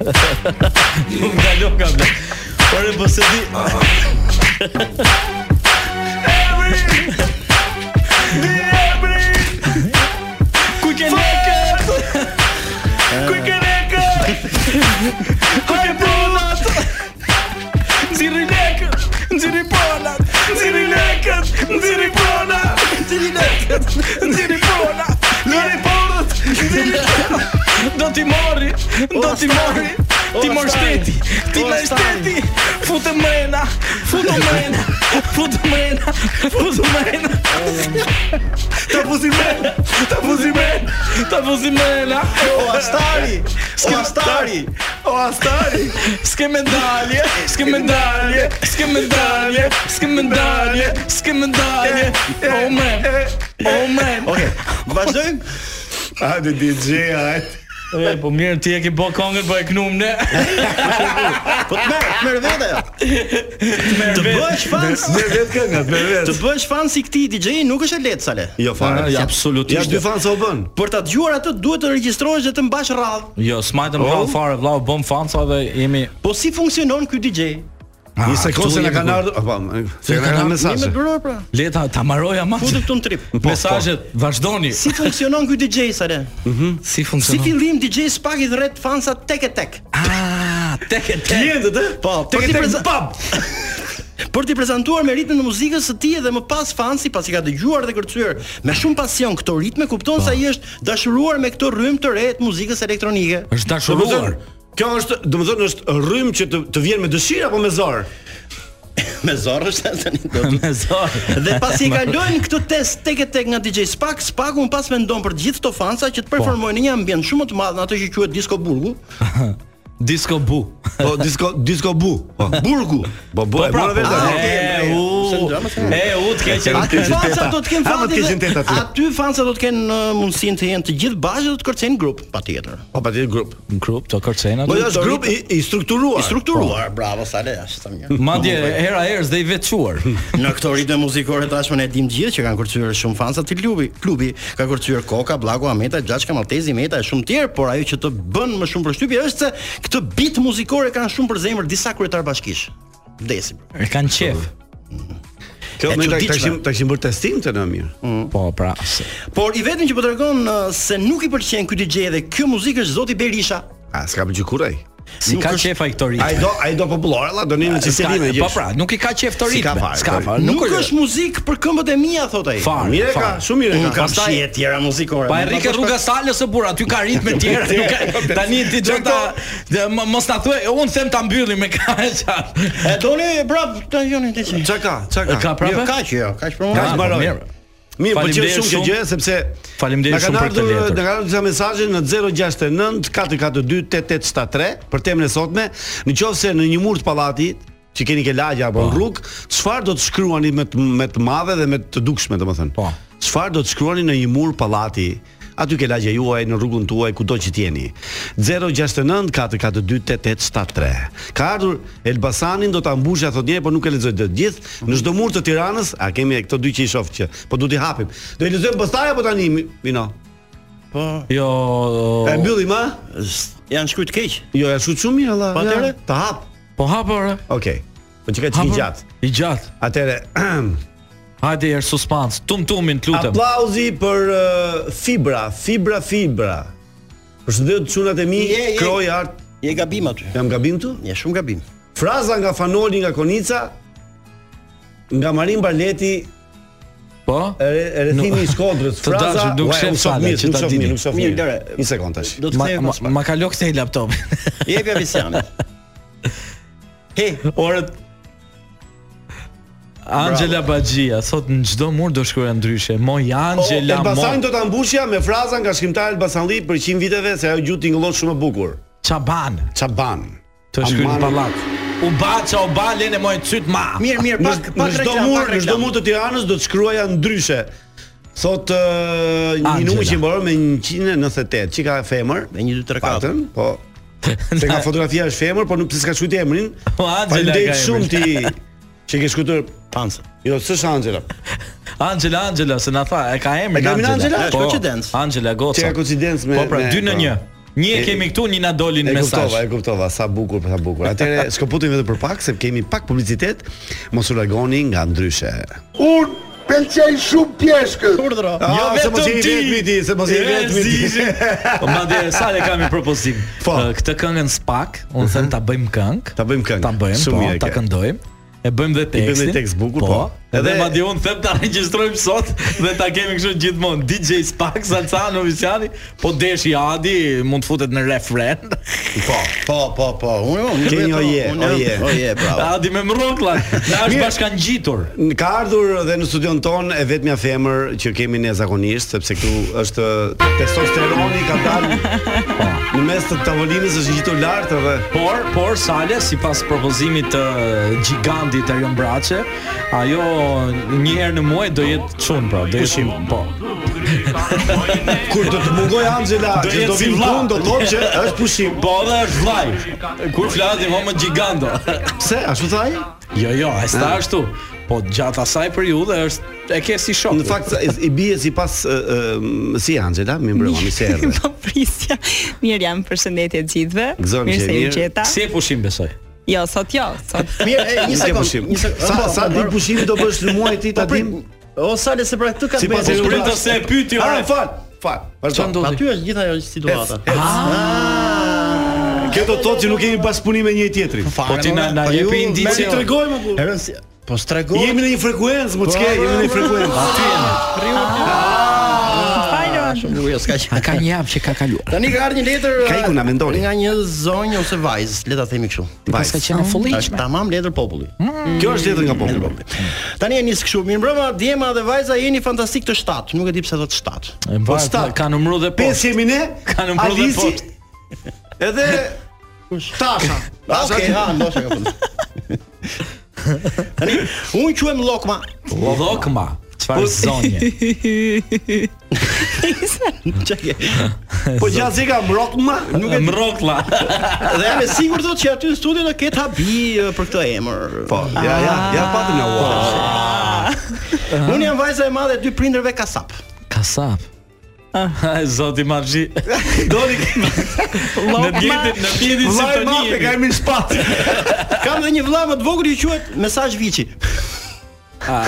Speaker 6: Nuk nga loka ble Ore, po se di Do t'i mori Do t'i mori Ti mor shteti Ti mor shteti Futë mrena Futë mrena Futë mrena Futë mrena Ta fuzi mrena Ta fuzi mrena Ta fuzi mrena
Speaker 4: O Astari, o Astari.
Speaker 8: O Astari.
Speaker 6: S'ke medalje S'ke medalje S'ke medalje S'ke medalje S'ke medalje O men O men
Speaker 4: Okej, vazhdojmë.
Speaker 8: Hajde DJ, hajde.
Speaker 6: E, po mirë ti e ke bë këngën po e knum ne
Speaker 4: Po të merr, të merr vetë ajo. Të bësh fans,
Speaker 8: Me vetë këngat, me
Speaker 4: të
Speaker 8: vetë.
Speaker 4: bësh fans i këtij DJ nuk është e lehtë sale.
Speaker 8: Jo fare.
Speaker 6: Ja,
Speaker 8: Ja
Speaker 6: absolutisht
Speaker 8: dy fan sa u bën.
Speaker 4: Për ta dëgjuar atë duhet të regjistrohesh dhe të mbash radhë.
Speaker 6: Jo, smajtëm oh. fare, vlau, bëm fansa dhe jemi
Speaker 4: Po si funksionon ky DJ?
Speaker 8: Një sekondë
Speaker 6: këtu
Speaker 8: se na
Speaker 6: jemi
Speaker 8: kanë
Speaker 6: kur.
Speaker 8: ardhur, po, se na kanë ardhur
Speaker 4: Jemi
Speaker 8: mesazhe. Po,
Speaker 4: me bërë pra.
Speaker 6: leta ta mbaroj ama.
Speaker 4: Futu këtu në trip.
Speaker 6: Mesazhet vazhdoni.
Speaker 4: Si funksionon ky DJ sale?
Speaker 8: Mhm.
Speaker 6: Si
Speaker 4: Si
Speaker 6: funksionon?
Speaker 4: fillim DJ Spak i dhret fansa tek e tek.
Speaker 6: Ah, tek e tek.
Speaker 8: Klientët, e?
Speaker 4: Po,
Speaker 8: tek
Speaker 4: për
Speaker 8: e
Speaker 4: t'i
Speaker 8: tek
Speaker 4: preza-
Speaker 8: pub.
Speaker 4: për t'i prezantuar me ritmin e muzikës së tij dhe më pas fansi pasi ka dëgjuar dhe kërcyer me shumë pasion këto ritme kupton se ai është dashuruar me këtë rrym të re të muzikës elektronike.
Speaker 3: Është dashuruar.
Speaker 8: Kjo është, domethënë është rrym që të, të vjen me dëshirë apo me zor?
Speaker 4: Me zorr është tani do të.
Speaker 6: Me zor.
Speaker 4: Dhe pasi e kalojnë këtë test tek e tek nga DJ Spak, Spaku më pas mendon për gjithë këto fansa që të performojnë në një ambient shumë më të madh në atë që quhet Disco Burgu.
Speaker 6: Disco bu.
Speaker 8: Po disco disco bu. Po.
Speaker 4: Burgu.
Speaker 8: Po po,
Speaker 4: pra,
Speaker 8: e mora vesh
Speaker 6: Ah,
Speaker 8: tani.
Speaker 6: E u.
Speaker 4: Se ndrama se ndrama.
Speaker 6: E u të keqen.
Speaker 4: Aty fansa do të kenë
Speaker 8: Ha, më të
Speaker 4: fati.
Speaker 8: keqen teta
Speaker 4: dhe-
Speaker 8: aty.
Speaker 4: Aty fansa do të kenë uh, mundësinë të jenë të gjithë bashkë dhe të kërcejnë grup, patjetër.
Speaker 8: Po patjetër grup.
Speaker 6: Në grup, të kërcen
Speaker 8: Po
Speaker 6: aty.
Speaker 8: është grup i, i strukturuar.
Speaker 4: I strukturuar, bravo Sale, është sa mirë.
Speaker 6: Madje hera herës dhe i vetëshuar.
Speaker 4: Po. Në këto ritme muzikore tashmë ne dim të gjithë që kanë kërcyer shumë fansa të klubi. Klubi ka kërcyer Koka, Blaku, Ameta, Gjaçka, Maltezi, Meta e shumë tjerë, por ajo që të bën më shumë përshtypje është se këtë bit muzikore kanë shumë për zemër disa kryetar bashkish. Vdesim.
Speaker 6: E kanë qef.
Speaker 8: Kjo
Speaker 4: E
Speaker 8: më
Speaker 4: çuditshme.
Speaker 8: tashim tashim bërë testim të na mirë.
Speaker 6: Po, pra. se-
Speaker 4: Por i vetmi që po tregon uh, se nuk i pëlqen ky DJ dhe kjo muzikë është Zoti Berisha.
Speaker 8: A s'ka më gjykur ai?
Speaker 6: Si
Speaker 4: Nuk
Speaker 6: ka
Speaker 4: është-
Speaker 6: qef ai këto ritme.
Speaker 8: Ai do ai do popullore, valla, do
Speaker 10: Ah,
Speaker 8: nimi që
Speaker 6: S'ka-
Speaker 8: selime
Speaker 6: Po pra, nuk i ka qef të
Speaker 8: Si ka
Speaker 6: ritme.
Speaker 8: fare,
Speaker 6: S'ka
Speaker 8: fare.
Speaker 6: fare.
Speaker 4: Nuk, është muzikë për këmbët e mia, thot ai.
Speaker 6: Fare,
Speaker 8: Mirë e ka,
Speaker 6: fare.
Speaker 8: shumë mirë e
Speaker 4: Unë
Speaker 8: ka.
Speaker 4: kam shije tjera muzikore.
Speaker 6: Pa e rike rruga salës së burr, aty ka ritme tjera, nuk ka tani ti do ta dhe m- mos ta thuaj, un them ta mbyllim me kaq.
Speaker 4: E doni brap të joni të qenë.
Speaker 8: Çka ka? Çka ka?
Speaker 6: Ka prapë? Ah, po
Speaker 4: Jo, kaq jo, kaq për mua.
Speaker 8: Kaq mbaroj.
Speaker 6: mirë.
Speaker 8: Mirë, po
Speaker 6: Faleminderit
Speaker 8: shumë kjo
Speaker 6: shumë.
Speaker 8: gjë sepse
Speaker 6: Faleminderit
Speaker 8: na kanë
Speaker 6: shumë për këtë
Speaker 8: ardhur-
Speaker 6: letër.
Speaker 8: Na kanë ardhur disa mesazhe në 069 442 8873 për temën e sotme. Në qoftë se në një mur të pallatit që keni ke lagja apo në rrugë, çfarë do të shkruani me të, me të madhe dhe me të dukshme, domethënë.
Speaker 6: Po.
Speaker 8: Çfarë do të shkruani në një mur pallati? Aty ke lagja juaj në rrugën tuaj kudo që t'jeni. 069 442 8873. Ka ardhur Elbasanin do ta mbushja thotë një, por po nuk e lexoj dot gjithë. Në çdo mur të Tiranës, a kemi këto dy që i shoh që, po du t'i hapim. Do i lexojmë pastaj apo tani, Mi- Mino?
Speaker 4: Po,
Speaker 6: Jo.
Speaker 8: E mbyllim a?
Speaker 4: s- janë shkruajt keq.
Speaker 8: Jo, e shkruaj shumë mirë valla.
Speaker 4: Po
Speaker 8: ja,
Speaker 4: atëre?
Speaker 8: ta hap.
Speaker 6: Po hapër.
Speaker 8: Okej. Po çka ti gjatë.
Speaker 6: I gjatë.
Speaker 8: Atëre,
Speaker 6: Hajde er suspans. Tum tumin të lutem.
Speaker 8: aplauzi për eh, Fibra, Fibra, Fibra. Përshëndet çunat e mi,
Speaker 4: Je, je.
Speaker 8: Kroj Art.
Speaker 4: Je gabim aty.
Speaker 8: Jam gabim tu?
Speaker 4: Je shumë gabim.
Speaker 8: Fraza nga Fanoli nga Konica nga Marin Barleti
Speaker 6: Po.
Speaker 8: e re- e rrethimi i Shkodrës.
Speaker 6: Të dashur, nuk
Speaker 8: Ua,
Speaker 6: shef
Speaker 8: unë shoh
Speaker 6: fare
Speaker 8: mirë,
Speaker 6: që
Speaker 8: nuk
Speaker 6: ta
Speaker 8: shoh
Speaker 6: dini.
Speaker 8: mirë, nuk shoh
Speaker 4: Mirë,
Speaker 8: mirë.
Speaker 4: lere.
Speaker 8: Një sekond tash.
Speaker 4: Do të
Speaker 6: Ma,
Speaker 4: them
Speaker 6: ma, ma ka lok se i laptopin.
Speaker 4: Jep ja Visianit. He,
Speaker 6: Orët Angela Bagjia thot në çdo mur do shkruaj ndryshe. Moj Angela
Speaker 8: Po, Elbasan
Speaker 6: Mo.
Speaker 8: do ta mbushja me fraza nga shkrimtari Elbasanli për 100 viteve se ajo gjuti tingëllon shumë e bukur.
Speaker 6: Çaban.
Speaker 8: Çaban.
Speaker 6: Të shkruaj në
Speaker 8: Aman.
Speaker 6: pallat. U baça, u balen e moj cyt ma.
Speaker 4: mirë, mirë,
Speaker 8: Në
Speaker 4: pak
Speaker 8: çdo-
Speaker 4: pak
Speaker 8: në çdo
Speaker 4: reklam,
Speaker 8: mur,
Speaker 4: pak
Speaker 8: në çdo
Speaker 4: reklam.
Speaker 8: mur të Tiranës do të shkruaja ndryshe. Thot uh, një
Speaker 6: Angela.
Speaker 8: numër që mbaron me 198, çika e femër.
Speaker 4: Me një, dy, tre, katër.
Speaker 8: Patën, po. Se nga fotografia është femër, por nuk pse s'ka shkruajti emrin.
Speaker 6: Po, Angela
Speaker 8: Faleminderit
Speaker 6: ka emrin.
Speaker 8: shumë ti që ke shkruar
Speaker 4: Pansa.
Speaker 8: Jo, s'është Angela.
Speaker 6: Angela, Angela, se na tha, e ka
Speaker 8: E
Speaker 6: emrin
Speaker 8: ka emrin Angela?
Speaker 6: Po,
Speaker 4: Coincidence.
Speaker 6: Angela Goca.
Speaker 8: Që ka koincidencë me
Speaker 6: Po pra,
Speaker 8: me-
Speaker 6: dy në
Speaker 8: po.
Speaker 6: një. Një e kemi këtu, një na dolin
Speaker 8: E kuptova,
Speaker 6: mesazh.
Speaker 8: e kuptova, sa bukur, sa bukur. Atëre shkëputim vetëm për pak se kemi pak publicitet, mos u largoni nga ndryshe.
Speaker 11: Un pëlqej shumë pjeshkët.
Speaker 4: Urdhro.
Speaker 8: Jo vetëm ti, ti, se mos je vetëm ti.
Speaker 6: Po madje sa le kam një propozim.
Speaker 8: Po. Mhm.
Speaker 6: Ë, Këtë këngën Spak, unë them ta bëjmë këngë.
Speaker 8: Ta bëjmë këngë.
Speaker 6: Ta bëjmë,
Speaker 8: Shumë
Speaker 6: po,
Speaker 8: mirë e
Speaker 6: ta
Speaker 8: ke.
Speaker 6: këndojmë. E bëjmë dhe tekstin.
Speaker 8: bëjmë dhe tekst bukur, po.
Speaker 6: Edhe
Speaker 8: Edhe-
Speaker 6: madje unë them ta regjistrojmë sot dhe ta kemi kështu gjithmonë DJ Spak Salcano Visiani, po deshi Adi mund të futet në refren.
Speaker 4: Po, po, po, po. Unë unë.
Speaker 8: Ke një
Speaker 4: vetëm,
Speaker 8: oje,
Speaker 4: unë-
Speaker 8: oje.
Speaker 4: Oje, bravo.
Speaker 6: Adi me mroklla, na është
Speaker 8: Mirë.
Speaker 6: bashkan gjitur.
Speaker 8: Në Ka ardhur dhe në studion ton e vetmja femër që kemi ne zakonisht, sepse këtu është testosteroni ka dalë
Speaker 6: Po.
Speaker 8: në mes të tavolinës është gjitur lart edhe
Speaker 6: Por, por Sale, si pas propozimit të gigantit të Braçe, ajo një herë në muaj do jetë çun pra, do jetë po.
Speaker 8: kur do të mungoj Angela,
Speaker 6: Do
Speaker 8: që
Speaker 6: jetë
Speaker 8: do
Speaker 6: si
Speaker 8: vim
Speaker 6: vlla.
Speaker 8: punë do të thotë që është pushim.
Speaker 6: Po dhe është vllaj. Kur flasim homo giganto.
Speaker 8: Pse, ashtu tha ai? Ah.
Speaker 6: jo, jo, e sta ashtu. Po gjatë asaj periudhe është e ke si shok.
Speaker 8: Në fakt sa- i bie sipas ë, ë, si Angela, më mbrëma mi serve.
Speaker 12: Po prisja. Mirë jam, përshëndetje të gjithëve.
Speaker 8: Gëzojmë që
Speaker 12: se
Speaker 8: je
Speaker 12: ju
Speaker 8: mirë.
Speaker 12: gjeta.
Speaker 6: si e pushim besoj.
Speaker 12: Jo, sot jo, sot.
Speaker 4: Mirë, e, një
Speaker 8: Një sekond,
Speaker 4: sekond. Një sekond.
Speaker 8: Sa sa ditë pushimi do bësh në muaj ti ta dim?
Speaker 4: O Sale se pra këtu ka
Speaker 8: Sipas e
Speaker 4: bërë-
Speaker 6: Prit të se e pyeti
Speaker 8: Ah,
Speaker 6: ore.
Speaker 8: fal, fal. Vazhdo.
Speaker 4: Aty është gjithë ajo situata. Ah.
Speaker 8: Kjo do të thotë që nuk kemi bashkëpunim me njëri tjetrin.
Speaker 6: Po ti na na jepi jo.
Speaker 4: me
Speaker 6: indicie.
Speaker 4: ti
Speaker 6: ore.
Speaker 4: tregoj më ku. Erën si Po strego.
Speaker 8: Jemi në një frekuencë, më çke, jemi në një frekuencë.
Speaker 4: Aty jemi. Riu.
Speaker 12: Falon.
Speaker 4: Ah. Shumë luja s'ka që.
Speaker 6: Ka një javë që ka kaluar.
Speaker 4: Tani ka ardhur një letër
Speaker 8: Ka ikur na mendoni.
Speaker 4: nga një zonjë ose vajzë, le ta themi kështu.
Speaker 6: Pas ka qenë e
Speaker 4: Është
Speaker 6: folliqme.
Speaker 4: tamam letër populli.
Speaker 8: Mm. Kjo është letër nga populli.
Speaker 4: Tani e nis kështu, mirë mbrëma, djema dhe vajza jeni fantastik të shtat. Nuk e di pse thot shtat.
Speaker 8: Po
Speaker 6: Po
Speaker 8: sta.
Speaker 6: ka numëruar dhe
Speaker 8: Pesë
Speaker 6: poshtë.
Speaker 8: jemi ne.
Speaker 6: Ka numëruar dhe
Speaker 8: Alisi,
Speaker 6: poshtë.
Speaker 8: Edhe Tasha.
Speaker 4: Ah, Okej, ha, ndoshta ka fund. Tani, unë quhem Lokma. Po-
Speaker 6: Llokma. Çfarë zonje?
Speaker 4: Çka ke?
Speaker 8: Po gjatë si ka mrokma, nuk e di.
Speaker 6: Mroklla.
Speaker 4: Dhe jam e sigurt thotë që aty në studio do ketë habi eh, për këtë emër. Po.
Speaker 8: Po, ja ja, ja patëm na ua.
Speaker 4: Unë jam vajza e madhe e dy prindërve kasap.
Speaker 6: Kasap. Ah, zoti Maxhi.
Speaker 8: Doni
Speaker 6: Në bjetin, në bjetin
Speaker 8: vllai mape ka
Speaker 6: sintonie.
Speaker 8: emrin spat.
Speaker 4: Kam dhe një vëlla më të vogël i quhet Mesazh Viçi.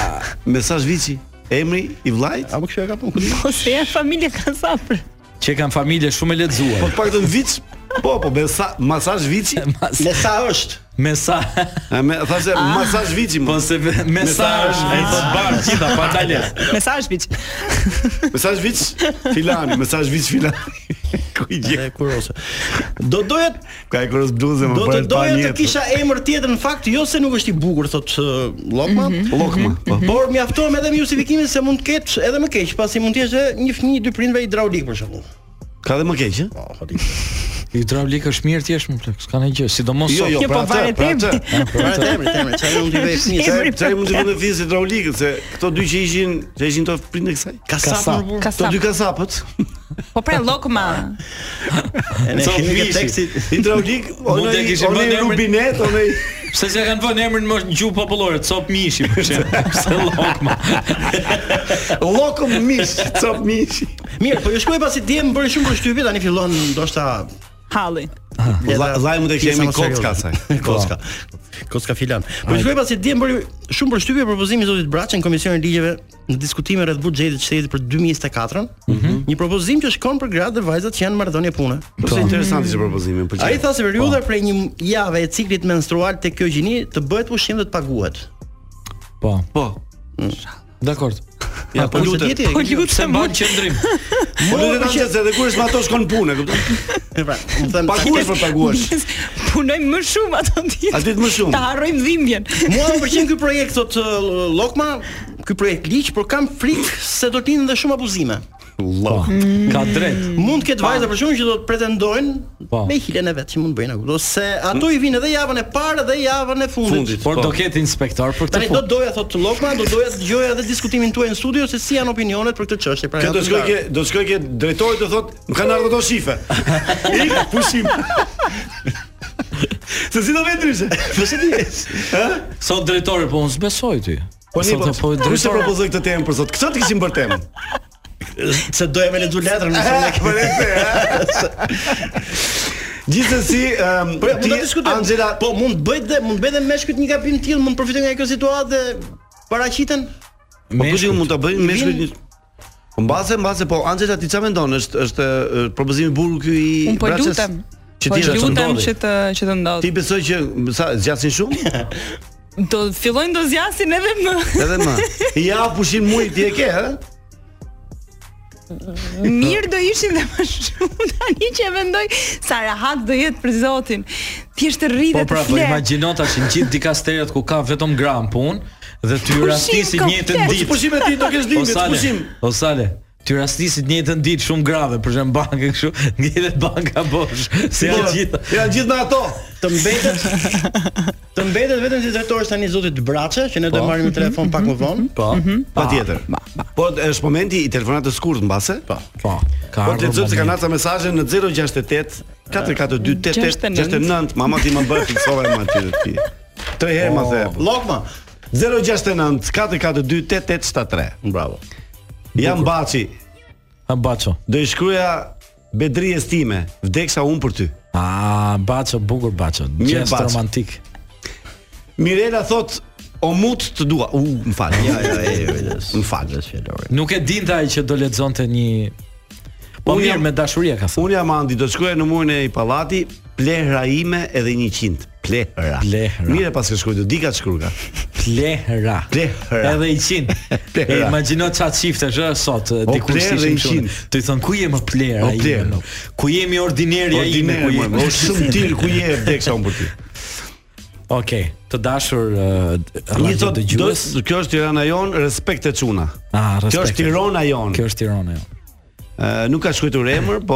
Speaker 8: Mesazh viçi, emri i vllait?
Speaker 4: Apo kjo e ka punë.
Speaker 12: Po se e familje ka sapër.
Speaker 6: Që kanë familje shumë e
Speaker 8: Po
Speaker 6: lexuar.
Speaker 8: të paktën viç. Po, po mesa, masazh viçi.
Speaker 6: Mas-
Speaker 4: Me sa është?
Speaker 6: Me sa
Speaker 8: E me thashë masazh viçi.
Speaker 6: po se mesazh ai thot bar gjitha pa dalë.
Speaker 12: Mesazh biç.
Speaker 8: Mesazh viç filani, mesazh viç filani. Ku i gje?
Speaker 4: E kurose. Do doja
Speaker 8: Ka e kuros bluzën më
Speaker 4: do të
Speaker 8: për të
Speaker 4: doja të
Speaker 8: panjet.
Speaker 4: kisha emër tjetër në fakt, jo se nuk është i bukur thot eh, Lokma, Mhm.
Speaker 8: Lokma. Po.
Speaker 4: por mjaftohem edhe me justifikimin se mund të ketë edhe më keq, pasi mund të jesh edhe një fëmijë i dy prindve hidraulik për shembull.
Speaker 8: Ka dhe më keq, ë?
Speaker 4: Po, hadi.
Speaker 6: Hidraulik është mirë ti jesh më plak, s'ka ndonjë gjë, sidomos
Speaker 8: Jo, jo,
Speaker 12: Kjo
Speaker 8: pra
Speaker 12: po
Speaker 8: atë,
Speaker 12: varet
Speaker 8: pra
Speaker 12: emri.
Speaker 8: atë.
Speaker 4: Po, emri, emri, çfarë mund të bëj fëmijë?
Speaker 12: Emri
Speaker 8: Çfarë mund të
Speaker 12: pra
Speaker 8: bëjë fiz hidraulikët se këto dy që ishin, që ishin to prindë kësaj?
Speaker 4: Kasap. më burr.
Speaker 12: Kasap.
Speaker 8: Këto dy kasapët.
Speaker 12: Po pra llokma.
Speaker 4: E Ne
Speaker 6: Cop
Speaker 4: kemi këtë
Speaker 6: vishi.
Speaker 4: tekstin.
Speaker 8: Hidraulik,
Speaker 6: Mund
Speaker 8: onë
Speaker 6: t'ja
Speaker 8: i
Speaker 6: kishim
Speaker 8: onë
Speaker 6: vënë
Speaker 8: i
Speaker 6: emrin-
Speaker 8: rubinet, onë i
Speaker 6: Pse s'e kanë vënë emrin më në gjuhë popullore, cop mishi për shemb, pse llokma.
Speaker 8: llokëm mish, cop mishi.
Speaker 4: Po, Mirë, po ju shkoj pasi djem bëri shumë përshtypje, tani fillon ndoshta
Speaker 12: Halli.
Speaker 8: Vlla- vllai mu të kishte
Speaker 4: pjesa
Speaker 8: emrin
Speaker 4: më serioze.
Speaker 8: Kocka asaj.
Speaker 4: Kocka. Kocka filan. Po ju shkoj pasi djem bëri shumë përshtypje propozimi i zotit Braçi në Komisionin e Ligjeve në diskutime rreth buxhetit të shtetit për 2024-ën,
Speaker 8: Mhm.
Speaker 4: një propozim që shkon për gradë dhe vajzat që janë në marrëdhënie pune.
Speaker 8: Është interesant ishte propozimi, më pëlqen.
Speaker 4: Ai Po. tha se periudha
Speaker 8: Po.
Speaker 4: prej një jave e ciklit menstrual tek kjo gjini të bëhet pushim dhe të paguhet.
Speaker 6: Po,
Speaker 8: po.
Speaker 6: dakord.
Speaker 8: Ja, po lutem.
Speaker 12: Po
Speaker 6: Pse
Speaker 12: lutem.
Speaker 6: mban qendrim?
Speaker 8: Po lutem se edhe kur është me ato shkon punë, kupton?
Speaker 4: Pra, u them
Speaker 8: Paguhesh për paguhesh.
Speaker 12: Punojmë më shumë ato ditë.
Speaker 8: A ditë më shumë.
Speaker 12: Ta harrojmë dhimbjen.
Speaker 4: Mua më pëlqen ky projekt thot uh, Lokma, ky projekt ligj, por kam frikë se do të lindë dhe shumë abuzime.
Speaker 6: Po,
Speaker 8: Mm.
Speaker 6: ka drejt.
Speaker 8: Po.
Speaker 4: Mund të ketë vajza për shkakun që do të pretendojnë
Speaker 6: Po.
Speaker 4: me hilen e vet që mund të bëjnë ato, se ato i vinë edhe javën e parë dhe javën e fundit.
Speaker 8: Fundit.
Speaker 6: Por
Speaker 8: Po.
Speaker 6: do ketë inspektor për
Speaker 4: Tani
Speaker 6: këtë
Speaker 4: do
Speaker 6: punë.
Speaker 4: doja thot Lokma, do doja të dëgjoja edhe diskutimin tuaj në studio se si janë opinionet për këtë çështje. Pra,
Speaker 8: Kjo do
Speaker 4: janë të
Speaker 8: shkoj ke,
Speaker 4: ndarë.
Speaker 8: do shkoj ke drejtori të thotë, më kanë ardhur ato shife. Ik pushim. Se si do vetë ndryshe? Po se di. Ë?
Speaker 6: Sot drejtori, po unë s'besoj ty.
Speaker 8: Po ne
Speaker 6: Sot
Speaker 8: po.
Speaker 6: e po
Speaker 8: Kush e
Speaker 6: drejtori.
Speaker 8: propozoi këtë temë për sot? Këtë të kishim për temën.
Speaker 4: se doja me lexu letrën nëse ne
Speaker 8: Po ne se. Gjithsesi, ëm
Speaker 4: Po ja, mund ta diskutojmë.
Speaker 8: Angela,
Speaker 4: po mund të bëj dhe mund të bëj dhe meshkujt një gabim të tillë, mund të përfitojnë nga kjo situatë dhe paraqiten.
Speaker 8: po kush mund ta bëjmë me shkruajtë. Po mbase, mbase, po Angela ti çfarë mendon? Është është ë, propozimi i burr ky i
Speaker 12: Unë po
Speaker 8: Braçës?
Speaker 12: lutem.
Speaker 8: Që
Speaker 12: Po
Speaker 8: ti është
Speaker 12: lutem që
Speaker 8: ndodhi.
Speaker 12: të që të ndodh.
Speaker 8: Ti besoj që sa zgjasin shumë?
Speaker 12: Do fillojnë do zjasin edhe më.
Speaker 8: Edhe më. Ja pushin muj ti e ke, ë?
Speaker 12: Mirë do ishin dhe më shumë tani që e mendoj sa rahat do jetë për Zotin. Thjesht të rritë
Speaker 6: Po
Speaker 12: dhe
Speaker 6: pra,
Speaker 12: të
Speaker 6: po
Speaker 12: flet.
Speaker 6: imagjino tash në gjithë dikasteret ku ka vetëm gram punë dhe ty
Speaker 12: Pushim
Speaker 6: rastisi një të
Speaker 12: komplet.
Speaker 6: ditë.
Speaker 8: Pushime ti do kesh
Speaker 6: O
Speaker 8: ditë,
Speaker 6: sale,
Speaker 8: pushim.
Speaker 6: O sale, ty rastisit një të ditë shumë grave, për shemb banka kështu, ngjelet banka bosh, si
Speaker 8: Po,
Speaker 6: janë gjitha.
Speaker 8: Janë gjithë me ato.
Speaker 4: Të mbetet të mbetet vetëm si drejtori tani zotit Braçe, që ne do
Speaker 6: Po.
Speaker 4: marrim në telefon pak më vonë. Mhm.
Speaker 6: Po.
Speaker 8: Patjetër. Po është momenti i telefonatës skurt mbase. Po.
Speaker 6: Po. Ka
Speaker 8: Po
Speaker 6: ardhur.
Speaker 8: të lexoj se kanë
Speaker 6: momenti.
Speaker 8: aca mesazhe në 068 442 69 mama ti më bën fiksove më aty ti. Tre herë më the.
Speaker 4: Lokma.
Speaker 8: 069 442 8873.
Speaker 4: Bravo.
Speaker 8: Jam Baçi,
Speaker 6: A baço.
Speaker 8: do i shkruaja bedrijes time, vdeksa unë për ty.
Speaker 6: A baço bukur baço. Gjest
Speaker 8: baço.
Speaker 6: romantik.
Speaker 8: Mirela thot, o mut të dua. U, më fal. Ja, ja, ja. Më fal.
Speaker 6: Nuk e dinte ai që do lexonte një Po
Speaker 8: Unë
Speaker 6: mirë
Speaker 8: jam-
Speaker 6: me dashuria ka thënë.
Speaker 8: Unë jam Andi, do të shkruaj në murin e i pallati, plehra ime edhe 100. Plehra.
Speaker 6: Plehra.
Speaker 8: Mirë pas ke shkruaj, do di ka të shkruaj.
Speaker 10: Plehra.
Speaker 8: Plehra.
Speaker 10: Edhe 100. E
Speaker 8: Plehra.
Speaker 10: imagjino çfarë çiftesh ë sot e, dikur
Speaker 8: plehra
Speaker 10: si
Speaker 8: dhe
Speaker 10: ishim këtu.
Speaker 8: 100.
Speaker 10: Të i thon ku je më plehra
Speaker 8: O,
Speaker 10: ime,
Speaker 8: plehra.
Speaker 10: mo? Ku jemi po ordineri ai ime, ku jemi.
Speaker 8: O shumë til ku je vdeksa unë për ty.
Speaker 10: Okej, të dashur uh,
Speaker 8: Një
Speaker 10: radio
Speaker 8: thot
Speaker 10: dëgjues.
Speaker 8: do- kjo është Tirana jon, respekt e çuna.
Speaker 10: Ah, respekt.
Speaker 8: Kjo është Tirana jon. Kjo
Speaker 10: është Tirana jon.
Speaker 8: Ë nuk ka shkruar emër, po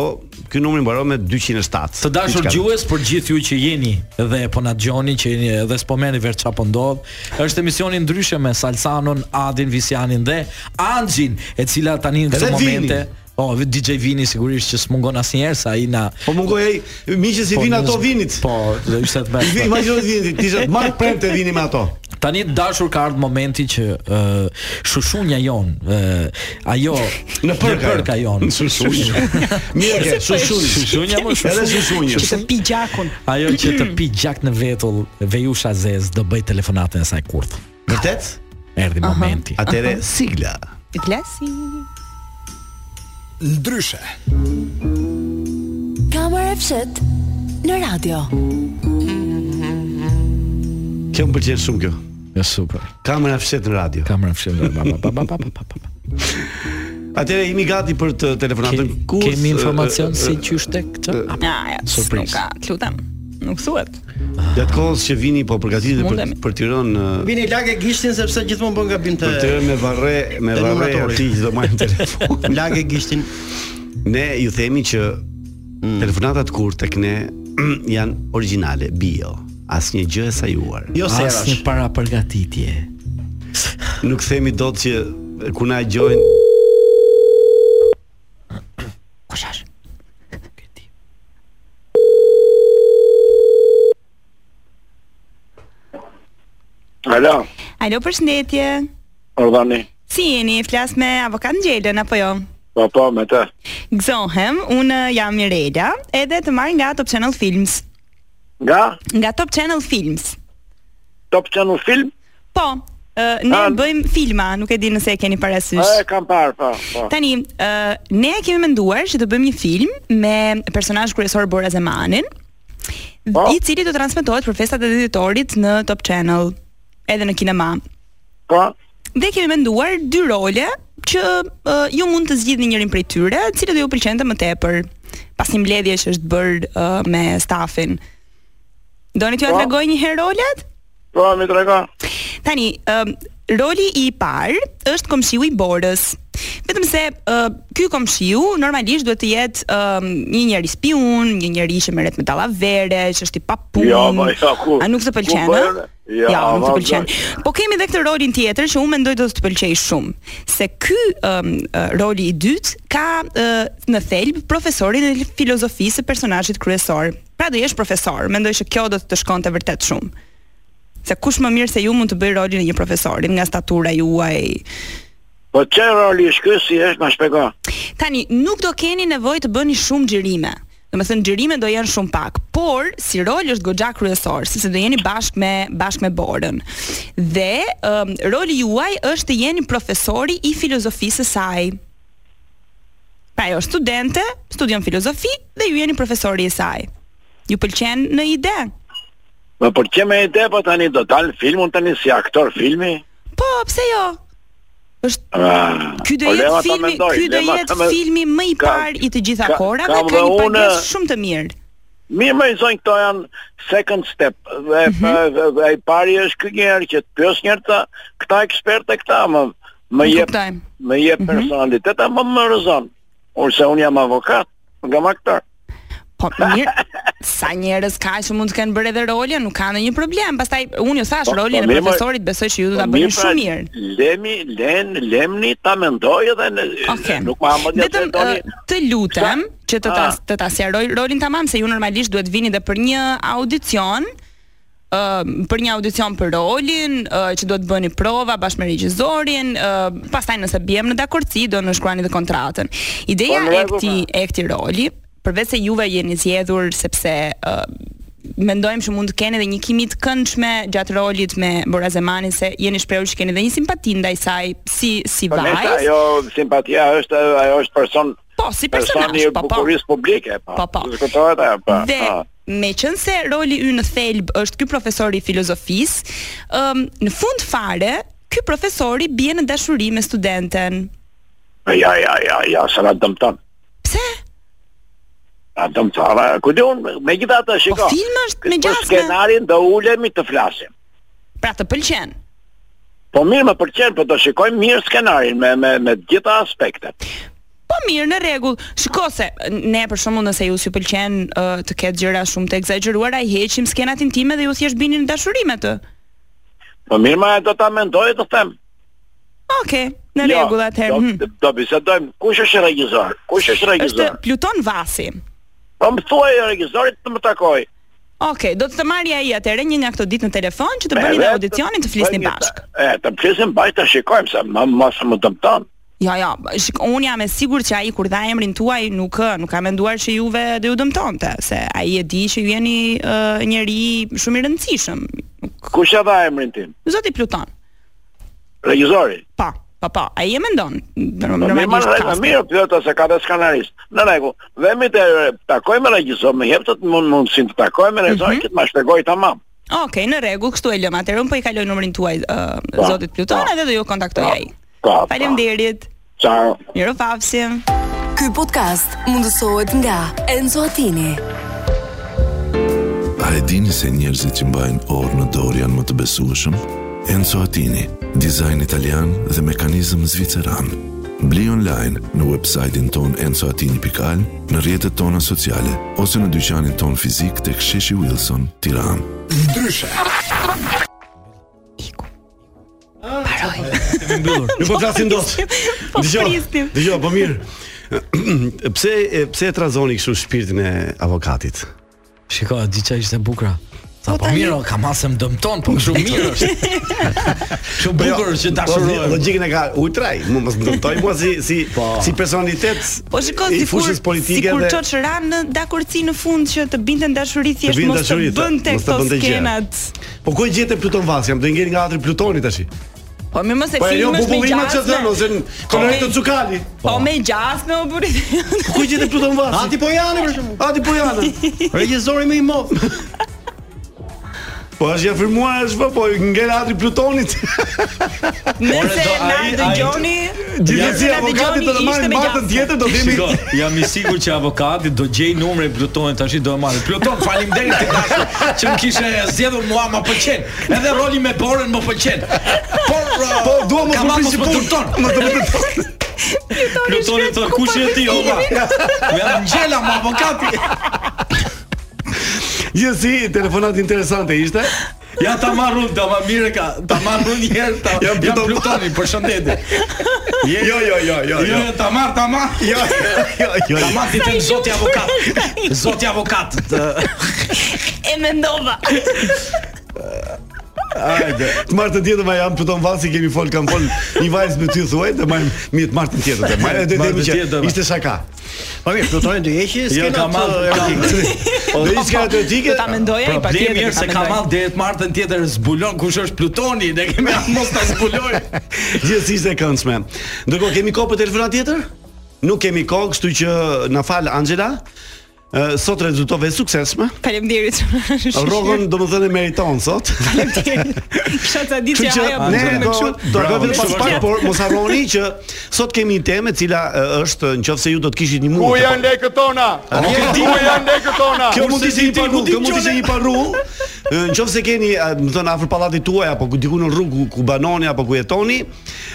Speaker 8: ky numri mbaron me 207.
Speaker 10: Të dashur
Speaker 8: Diçka.
Speaker 10: gjues, për gjithë ju që jeni dhe po na dëgjoni, që jeni edhe s'po merrni vetë çfarë po ndodh, është emisioni ndryshe me Salsanon, Adin, Visianin dhe Anxhin, e cila tani në
Speaker 8: Edhe
Speaker 10: këtë
Speaker 8: Vini.
Speaker 10: momente Po, DJ Vini sigurisht që s'mungon asnjëherë sa ai na
Speaker 8: Po mungoj ai, miqë si vinë ato vinit.
Speaker 10: Po, do ishte të bashkë.
Speaker 8: Imagjino të vini, ti ishe marr premte të vini me ato.
Speaker 10: Tani të dashur ka ardhur momenti që uh, shushunja jon, uh, ajo
Speaker 8: Në përka
Speaker 3: jo.
Speaker 10: jon.
Speaker 8: Shushunja. Mirë ke, shushunja.
Speaker 10: Shushunja më shushunja.
Speaker 8: Edhe shushunja. Që të
Speaker 10: pi gjakun. Ajo që të pi gjak në vetull, Vejusha Zez do bëj telefonatën e saj kurth.
Speaker 8: Vërtet?
Speaker 10: Erdhi
Speaker 12: Aha.
Speaker 10: momenti.
Speaker 12: Atëre, Aha.
Speaker 8: sigla.
Speaker 12: Klasi.
Speaker 7: Ndryshe.
Speaker 1: Kamër e fshet në radio.
Speaker 8: Kjo më pëlqen shumë kjo.
Speaker 10: Ja super.
Speaker 8: Kamera fshet në radio.
Speaker 10: Kamera fshet në radio. Pa, pa, pa, pa, pa, pa.
Speaker 8: Atëre jemi gati për të telefonatën kur
Speaker 10: kemi informacion si qyshte këtë?
Speaker 12: Na,
Speaker 8: Surprizë.
Speaker 12: surprizë. Ka, lutem. Nuk thuhet.
Speaker 8: Gjatë kohës që vini po përgatitet për
Speaker 12: Mundemi.
Speaker 8: për Tiranë ë,
Speaker 4: Vini lagë gishtin sepse gjithmonë bën gabim të
Speaker 8: për Tiranë me varre me
Speaker 4: Te
Speaker 8: varre
Speaker 4: numratori.
Speaker 8: aty që do marrim telefon.
Speaker 4: Lagë gishtin.
Speaker 8: Ne ju themi që telefonatat kur tek ne janë origjinale, bio, asnjë gjë e sajuar.
Speaker 6: Jo,
Speaker 10: Asnjë para përgatitje.
Speaker 8: Nuk themi dot që ku na gjojnë
Speaker 12: Kushash?
Speaker 13: Alo,
Speaker 12: Alo, përshëndetje.
Speaker 13: Ordani.
Speaker 12: Si jeni? Flas me avokat Ngjelën apo jo?
Speaker 13: Po, po, me të.
Speaker 12: Gëzohem, unë jam Mirela, edhe të marr nga Top Channel Films.
Speaker 13: Nga?
Speaker 12: Nga Top Channel Films.
Speaker 13: Top Channel Film?
Speaker 12: Po, ë, ne bëjmë filma, nuk e di nëse e keni parasysh.
Speaker 13: A, e kam parë, po, po.
Speaker 12: Tani, ë, ne kemi menduar që të bëjmë një film me personazh kryesor Bora Zemanin, i cili do transmetohet për festat e dhjetëtorit në Top Channel, edhe në kinema.
Speaker 13: Po.
Speaker 12: Dhe kemi menduar dy role që ë, ju mund të zgjidhni njërin prej tyre, cili do ju pëlqente më tepër, pas një mbledhje që është bërë ë, me stafin. Doni t'ju ja tregoj një herë rolet?
Speaker 13: Po, më trego.
Speaker 12: Tani, ë, roli i parë është komshiu i Borës. Vetëm se uh, ky komshiu normalisht duhet të jetë ë, një njeri spiun, një njeri që merret me dallavere, që është i papun.
Speaker 13: Jo, po, jo, ku-
Speaker 12: a nuk të
Speaker 13: ku
Speaker 12: pëlqen?
Speaker 13: bëre?
Speaker 12: ë? nuk
Speaker 13: Jo,
Speaker 12: të
Speaker 13: vazhdoj.
Speaker 12: pëlqen. Po kemi edhe këtë rolin tjetër që unë mendoj do të të pëlqej shumë, se ky ëm, ë, roli i dytë ka ë, në thelb profesorin e filozofisë së personazhit kryesor. Pra do jesh profesor, mendoj që kjo do të të shkonte vërtet shumë. Se kush më mirë se ju mund të bëj rolin e një profesori nga statura juaj.
Speaker 13: Po, që roli është ky si është, ma shpego.
Speaker 12: Tani nuk do keni nevojë të bëni shumë xhirime. Domethënë xhirime do jenë shumë pak, por si rol është goxha kryesor, sepse do jeni bashkë me bashkë me Borën. Dhe um, roli juaj është të jeni profesori i filozofisë së saj. Pra ajo është studente, studion filozofi dhe ju jeni profesori i saj. Ju pëlqen në ide?
Speaker 13: Më pëlqen me ide, po tani do dal filmun tani si aktor filmi.
Speaker 12: Po, pse jo?
Speaker 13: Ah,
Speaker 12: Ky do
Speaker 13: po,
Speaker 12: jetë
Speaker 13: lema ta
Speaker 12: filmi,
Speaker 13: mendoj,
Speaker 12: ky do
Speaker 13: lema ta
Speaker 12: jetë
Speaker 13: men-
Speaker 12: filmi më i
Speaker 13: Ka-
Speaker 12: parë i të gjitha
Speaker 13: ka-
Speaker 12: korave, ka
Speaker 13: kam dhe
Speaker 12: një
Speaker 13: unë-
Speaker 12: pagesë shumë të mirë.
Speaker 13: Mirë më i zonë këto janë second step dhe,
Speaker 12: Mhm.
Speaker 13: pa- dhe, dhe i pari është ky njerë që të pjës njerë të këta eksperte këta më, më
Speaker 12: Nuk
Speaker 13: jep,
Speaker 12: kuptoj. Mhm.
Speaker 13: më jep personalitet më më rëzon Urse unë jam avokat, unë jam aktor
Speaker 12: Po mirë, sa njerëz ka që mund të kenë bërë edhe role, nuk ka ndonjë problem. Pastaj unë ju thash
Speaker 13: Po, po,
Speaker 12: rolin e
Speaker 13: mirë,
Speaker 12: profesorit, besoj që ju do ta
Speaker 13: Po
Speaker 12: bëni
Speaker 13: mirë, pra,
Speaker 12: shumë mirë.
Speaker 13: Lemi, len, lemni ta mendoj edhe në,
Speaker 12: Okej.
Speaker 13: nuk ma më një të
Speaker 12: Vetëm
Speaker 13: doni
Speaker 12: ë, të lutem që të ta
Speaker 13: Ah.
Speaker 12: të ta sjaroj rolin tamam se ju normalisht duhet vini edhe për një audicion ë për një audicion për rolin ë, që do të bëni prova bashkë me regjisorin, ë, pastaj nëse bjem në dakordsi do në shkruani dhe kontratën. Ideja
Speaker 13: Po, në
Speaker 12: e
Speaker 13: rregull,
Speaker 12: këtij e këtij roli, përveç se juve jeni zgjedhur sepse ë mendojmë që mund të keni edhe një kimi të këndshme gjatë rolit me Bora Zemanin se jeni shprehur që keni edhe një simpati ndaj saj si si
Speaker 13: Po nesër
Speaker 12: vajzë.
Speaker 13: ajo simpatia është ajo është person
Speaker 12: Po, si personazh,
Speaker 13: personi i
Speaker 12: po, po.
Speaker 13: bukurisë publike, po.
Speaker 12: Po, po.
Speaker 13: Diskutohet ajo, po.
Speaker 12: Dhe
Speaker 13: po.
Speaker 12: me qënë se roli ynë në thelb është ky profesor i filozofisë, um, në fund fare, ky profesori bie në dashuri me studenten.
Speaker 13: Ja, ja, ja, ja, se na dëmton.
Speaker 12: Pse?
Speaker 13: A dëmton, a, ku di unë, me gjitha të shiko.
Speaker 12: Po film është me gjasme.
Speaker 13: Për skenarin do ulemi të flasim.
Speaker 12: Pra të pëlqen.
Speaker 13: Po mirë më pëlqen, po do shikojmë mirë skenarin me, me, me të gjitha aspektet.
Speaker 12: Po mirë, në rregull. Shiko se ne për shembull nëse ju s'ju pëlqen uh, të ketë gjëra shumë të egzageruara, i heqim skenat intime dhe ju thjesht bini në dashuri me të.
Speaker 13: Po mirë ma do ta mendoj të them. Jo,
Speaker 12: Okej, në rregull atëherë.
Speaker 13: Do,
Speaker 12: Hmm.
Speaker 13: do bisedojmë kush është regjisor, kush është
Speaker 12: Është
Speaker 13: regjisor.
Speaker 12: Pluton Vasi.
Speaker 13: Po më thuaj regjisorit të më takoj.
Speaker 12: Okej, do të të marrja ai atëherë një nga këto ditë në telefon që të bëni dhe audicionin të flisni bashkë.
Speaker 13: E, të flisim bashkë të shikojmë se më mos më dëmton.
Speaker 12: Jo, jo, shik, unë jam e sigurt që ai kur dha emrin tuaj nuk ë, nuk ka menduar që juve do ju dëmtonte, se ai e di që ju jeni uh, njeri shumë i rëndësishëm.
Speaker 13: Kush e dha emrin tim?
Speaker 12: Zoti Pluton.
Speaker 13: Regjizori.
Speaker 12: Pa, pa, pa, ai e mendon.
Speaker 13: Po mirë,
Speaker 12: Normalisht
Speaker 13: më
Speaker 12: kasti.
Speaker 13: mirë pyet ose ka dhe skenarist. Në rregull, dhe mi të takoj me regjisor, më jep të të mund mundësin të takoj me regjisor
Speaker 12: Mhm.
Speaker 13: që të më shpjegoj tamam.
Speaker 12: Okej, në rregull, kështu e lëm. Atëherë unë po i kaloj numrin tuaj uh,
Speaker 8: Po,
Speaker 13: Pa,
Speaker 12: zotit Pluton edhe do ju kontaktoj ai.
Speaker 13: Pa, pa.
Speaker 12: Faleminderit.
Speaker 13: Ciao.
Speaker 12: Mirupafshim.
Speaker 1: Ky podcast mundësohet nga Enzo Attini.
Speaker 2: A e dini se njerëzit që mbajnë orë në dorë janë më të besueshëm? Enzo Attini, dizajn italian dhe mekanizëm zviceran. Bli online në websajtin ton enzoatini.al, në rjetët tona sociale, ose në dyqanin ton fizik të ksheshi Wilson, tiran.
Speaker 7: Ndryshe.
Speaker 12: Paroj.
Speaker 8: Kemi mbyllur. Nuk po flasim dot.
Speaker 12: Po
Speaker 8: Dgjoj,
Speaker 12: prisnim.
Speaker 8: Dgjoj, po mirë. pse e, pse e trazoni kështu shpirtin e avokatit?
Speaker 10: Shiko, diçka ishte bukur. Sa po mirë, o, ka masë më dëmton, po shumë mirë është. Shumë bukur që dashurohem.
Speaker 8: Logjikën e ka ultraj, mu mos ndërtoj mua si si si personalitet.
Speaker 12: Po shikoj
Speaker 8: i
Speaker 12: sikur
Speaker 8: fushës politike
Speaker 12: sikur
Speaker 8: dhe
Speaker 12: çoçra në dakorci në fund që të binte dashuri thjesht
Speaker 8: binte
Speaker 12: mos të
Speaker 8: dashuri,
Speaker 12: bënte
Speaker 8: mos të
Speaker 12: këto
Speaker 8: bënte gjë.
Speaker 12: skenat.
Speaker 8: Po ku e gjete Pluton Vasi? Jam do ngjen nga atri Plutoni tash.
Speaker 12: Po më mos e
Speaker 8: Po e jo
Speaker 12: fillim është me
Speaker 8: bubullime
Speaker 12: gjasme.
Speaker 8: që thën ose në Kolorito Cukali.
Speaker 12: Po me gjasme o burit.
Speaker 8: Po ku e gjete Pluton Vasi?
Speaker 4: Ati po janë për shembull.
Speaker 8: Ati po janë.
Speaker 4: Regjizori më i mot.
Speaker 8: Po është ja firmuar është po, po ngjen atri Plutonit.
Speaker 12: Nëse na dëgjoni,
Speaker 8: Gjithsesi avokatit do të marrin matën tjetër do kemi
Speaker 10: Shiko, jam i sigurt që avokati do gjej numrin e Plutonit tash do e marrë. Pluton, faleminderit të dashur që më kishe zgjedhur mua, më pëlqen. Edhe roli me Borën më pëlqen. Por uh,
Speaker 8: Po dua mos
Speaker 10: ka
Speaker 8: më
Speaker 10: ma
Speaker 8: prisë
Speaker 10: më
Speaker 8: punë.
Speaker 10: dërton.
Speaker 8: Mos të bëj.
Speaker 10: Plutoni thon
Speaker 12: Po
Speaker 10: kush je ti, Po oma? Me Angela më avokati.
Speaker 8: Gjithsesi telefonat interesante ishte.
Speaker 10: Ja ta marr unë, ta ma mirë ka, ta marr unë një herë, ta
Speaker 8: Ja,
Speaker 10: jam
Speaker 8: Pluton-
Speaker 10: Plutoni, përshëndetje.
Speaker 8: Jo jo jo jo jo.
Speaker 10: Jo, jo, ta marr, ta marr.
Speaker 8: Jo, jo, jo.
Speaker 10: Ta marr ti të zoti avokat. Zoti avokat. të-
Speaker 12: E mendova.
Speaker 8: Hajde. Të martën tjetër ma jam Pluton Vasi kemi fol kam fol një vajzë me ty thuaj të marrim mirë të martën tjetër. Të marrim të
Speaker 4: Martën
Speaker 8: themi që
Speaker 4: tjetër, ma.
Speaker 8: ishte shaka.
Speaker 4: Po mirë, Plutoni do heqë
Speaker 8: Jo,
Speaker 4: skenat
Speaker 8: ka mall,
Speaker 4: eh,
Speaker 8: ka-
Speaker 4: erotike.
Speaker 8: Po do ishte erotike.
Speaker 12: Ta mendoj ai
Speaker 10: Problemi
Speaker 12: patjetër.
Speaker 10: është se ka mall deri të martën tjetër zbulon kush është Plutoni, ne kemi as mos ta zbuloj.
Speaker 8: Gjithsesi ishte e këndshme. Ndërkohë kemi kohë për telefonat tjetër? Nuk kemi kohë, kështu që na fal Angela. Ë, Sot rezultove e suksesshme.
Speaker 12: Faleminderit.
Speaker 8: Rrogën domethënë e meriton sot.
Speaker 12: Kisha ta di
Speaker 8: Kështu
Speaker 12: se
Speaker 8: që
Speaker 12: ajo
Speaker 8: ne
Speaker 12: më
Speaker 8: do
Speaker 12: kështu.
Speaker 8: do
Speaker 10: Bravo,
Speaker 8: të vetëm pas
Speaker 10: shumë
Speaker 8: pak,
Speaker 10: shumë.
Speaker 8: por mos harroni që sot kemi një temë e cila ë, është nëse ju do të kishit një mund. të-
Speaker 11: lekët tona? lekët tona?
Speaker 8: Kjo mund të ishte një paru, kjo mund të ishte një paru. Në qoftë se keni, a, më thënë, afër pallatit tuaj apo ku- diku në rrugë ku- ku banoni apo ku jetoni,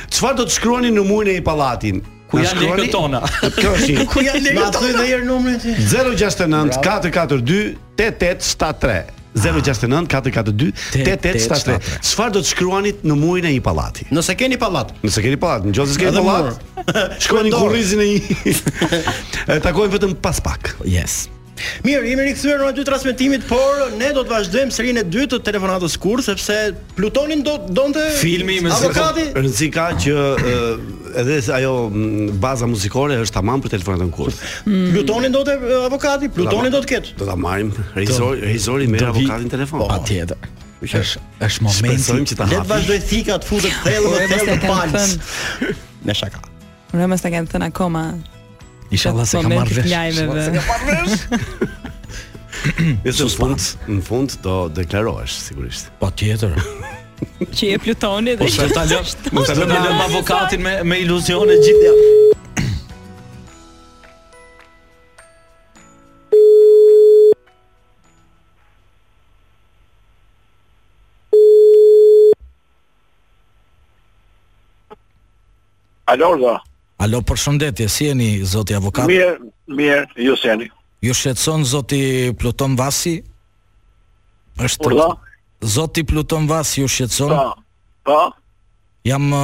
Speaker 8: çfarë do të shkruani në murin e pallatin?
Speaker 10: Ku
Speaker 8: Na
Speaker 10: janë
Speaker 8: shkruani-
Speaker 10: lekët tona?
Speaker 8: Kjo është një.
Speaker 4: Ku janë lekët? Ma thuaj edhe herë numrin ti.
Speaker 8: 069 442 8873. 069 442 8873. Çfarë do të shkruani në murin e një pallati?
Speaker 4: Nëse keni pallat.
Speaker 8: Nëse keni pallat, nëse keni
Speaker 4: Edhe
Speaker 8: pallat, shkruani
Speaker 4: Në dorë.
Speaker 8: kurrizin e një. E Takojmë vetëm pas pak.
Speaker 10: Yes.
Speaker 4: Mirë, jemi rikthyer në orën 2 të transmetimit, por ne do të vazhdojmë serinë e dytë të telefonatës kur sepse Plutonin do donte
Speaker 10: Filmi me
Speaker 4: avokati.
Speaker 8: Rëndësi ka që ë, edhe se ajo m, baza muzikore është tamam për telefonatën kurt. Hmm.
Speaker 4: Plutonin donte eh, avokati, Plutonin do të ketë.
Speaker 8: Do ta marrim regjisori, regjisori me
Speaker 10: Do vi-
Speaker 8: avokatin në telefon.
Speaker 10: Patjetër. Është është momenti.
Speaker 8: Shpresojmë që ta
Speaker 4: Le
Speaker 8: hapi.
Speaker 4: të
Speaker 8: Po,
Speaker 4: vazhdoj thika të futet thellë dhe
Speaker 12: Ore, mos e
Speaker 4: thellë të
Speaker 12: kanë
Speaker 4: palës.
Speaker 12: thënë.
Speaker 4: Me shaka.
Speaker 12: Ora mos ta kanë thënë akoma.
Speaker 10: Inshallah se ka marrë
Speaker 12: momentit
Speaker 10: vesh.
Speaker 12: lajmeve.
Speaker 8: Nëse në fund, në fund do deklarohesh sigurisht.
Speaker 3: Patjetër.
Speaker 12: Që je Plutoni dhe
Speaker 10: Po se
Speaker 6: tá
Speaker 10: ta lë, mos ta lëm lëm avokatin me me
Speaker 6: né?
Speaker 10: iluzione gjithë.
Speaker 6: Gjithja.
Speaker 13: Alo, da.
Speaker 3: Alo, përshëndetje, si jeni zoti avokat?
Speaker 13: Mirë, mirë, ju seni.
Speaker 3: Ju shqetëson zoti Pluton Vasi? Është
Speaker 13: Urdhë?
Speaker 3: Zoti Pluton Vasi ju shqetëson?
Speaker 13: Po. Po.
Speaker 3: Jam ë,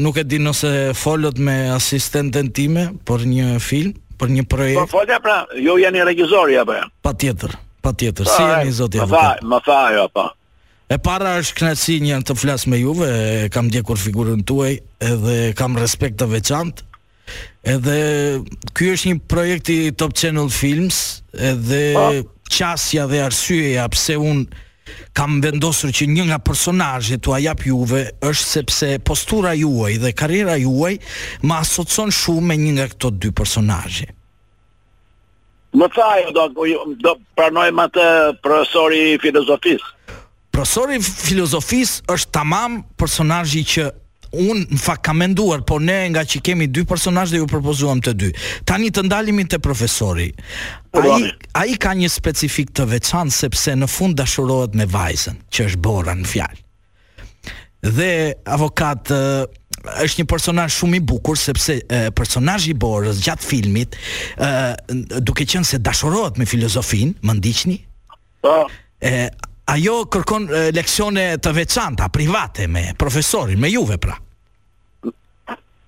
Speaker 3: nuk e di nëse folët me asistenten time për një film, për një
Speaker 13: Po
Speaker 3: projekt.
Speaker 13: folja pra, ju jeni regjizori apo jo?
Speaker 3: Patjetër, patjetër. Si
Speaker 13: Po,
Speaker 3: jeni zoti
Speaker 13: Më
Speaker 3: avokat?
Speaker 13: tha- Më tha jo, po.
Speaker 3: E para është kënaqësi një të flas me juve, e kam ndjekur figurën tuaj edhe kam respekt të veçantë. Edhe ky është një projekt i Top Channel Films, edhe qasja dhe arsyeja pse un kam vendosur që një nga personazhet tua jap juve është sepse postura juaj dhe karriera juaj më asocion shumë me një nga këto dy personazhe.
Speaker 13: Më tha jo, do, ju- do pranojmë atë profesori i filozofisë.
Speaker 3: Profesori i filozofisë është tamam personazhi që unë në fakt kam menduar, por ne nga që kemi dy personazhe ju propozuam të dy. Tani të ndalemi te profesori. Ai ai ka një specifik të veçantë sepse në fund dashurohet me vajzën, që është Bora në fjalë. Dhe avokat ë, është një personazh shumë i bukur sepse ë, personazhi i Borës gjatë filmit ë, duke qenë se dashurohet me filozofin, më ndiqni?
Speaker 13: Po.
Speaker 3: E, ajo kërkon e, leksione të veçanta, private me profesorin, me juve pra.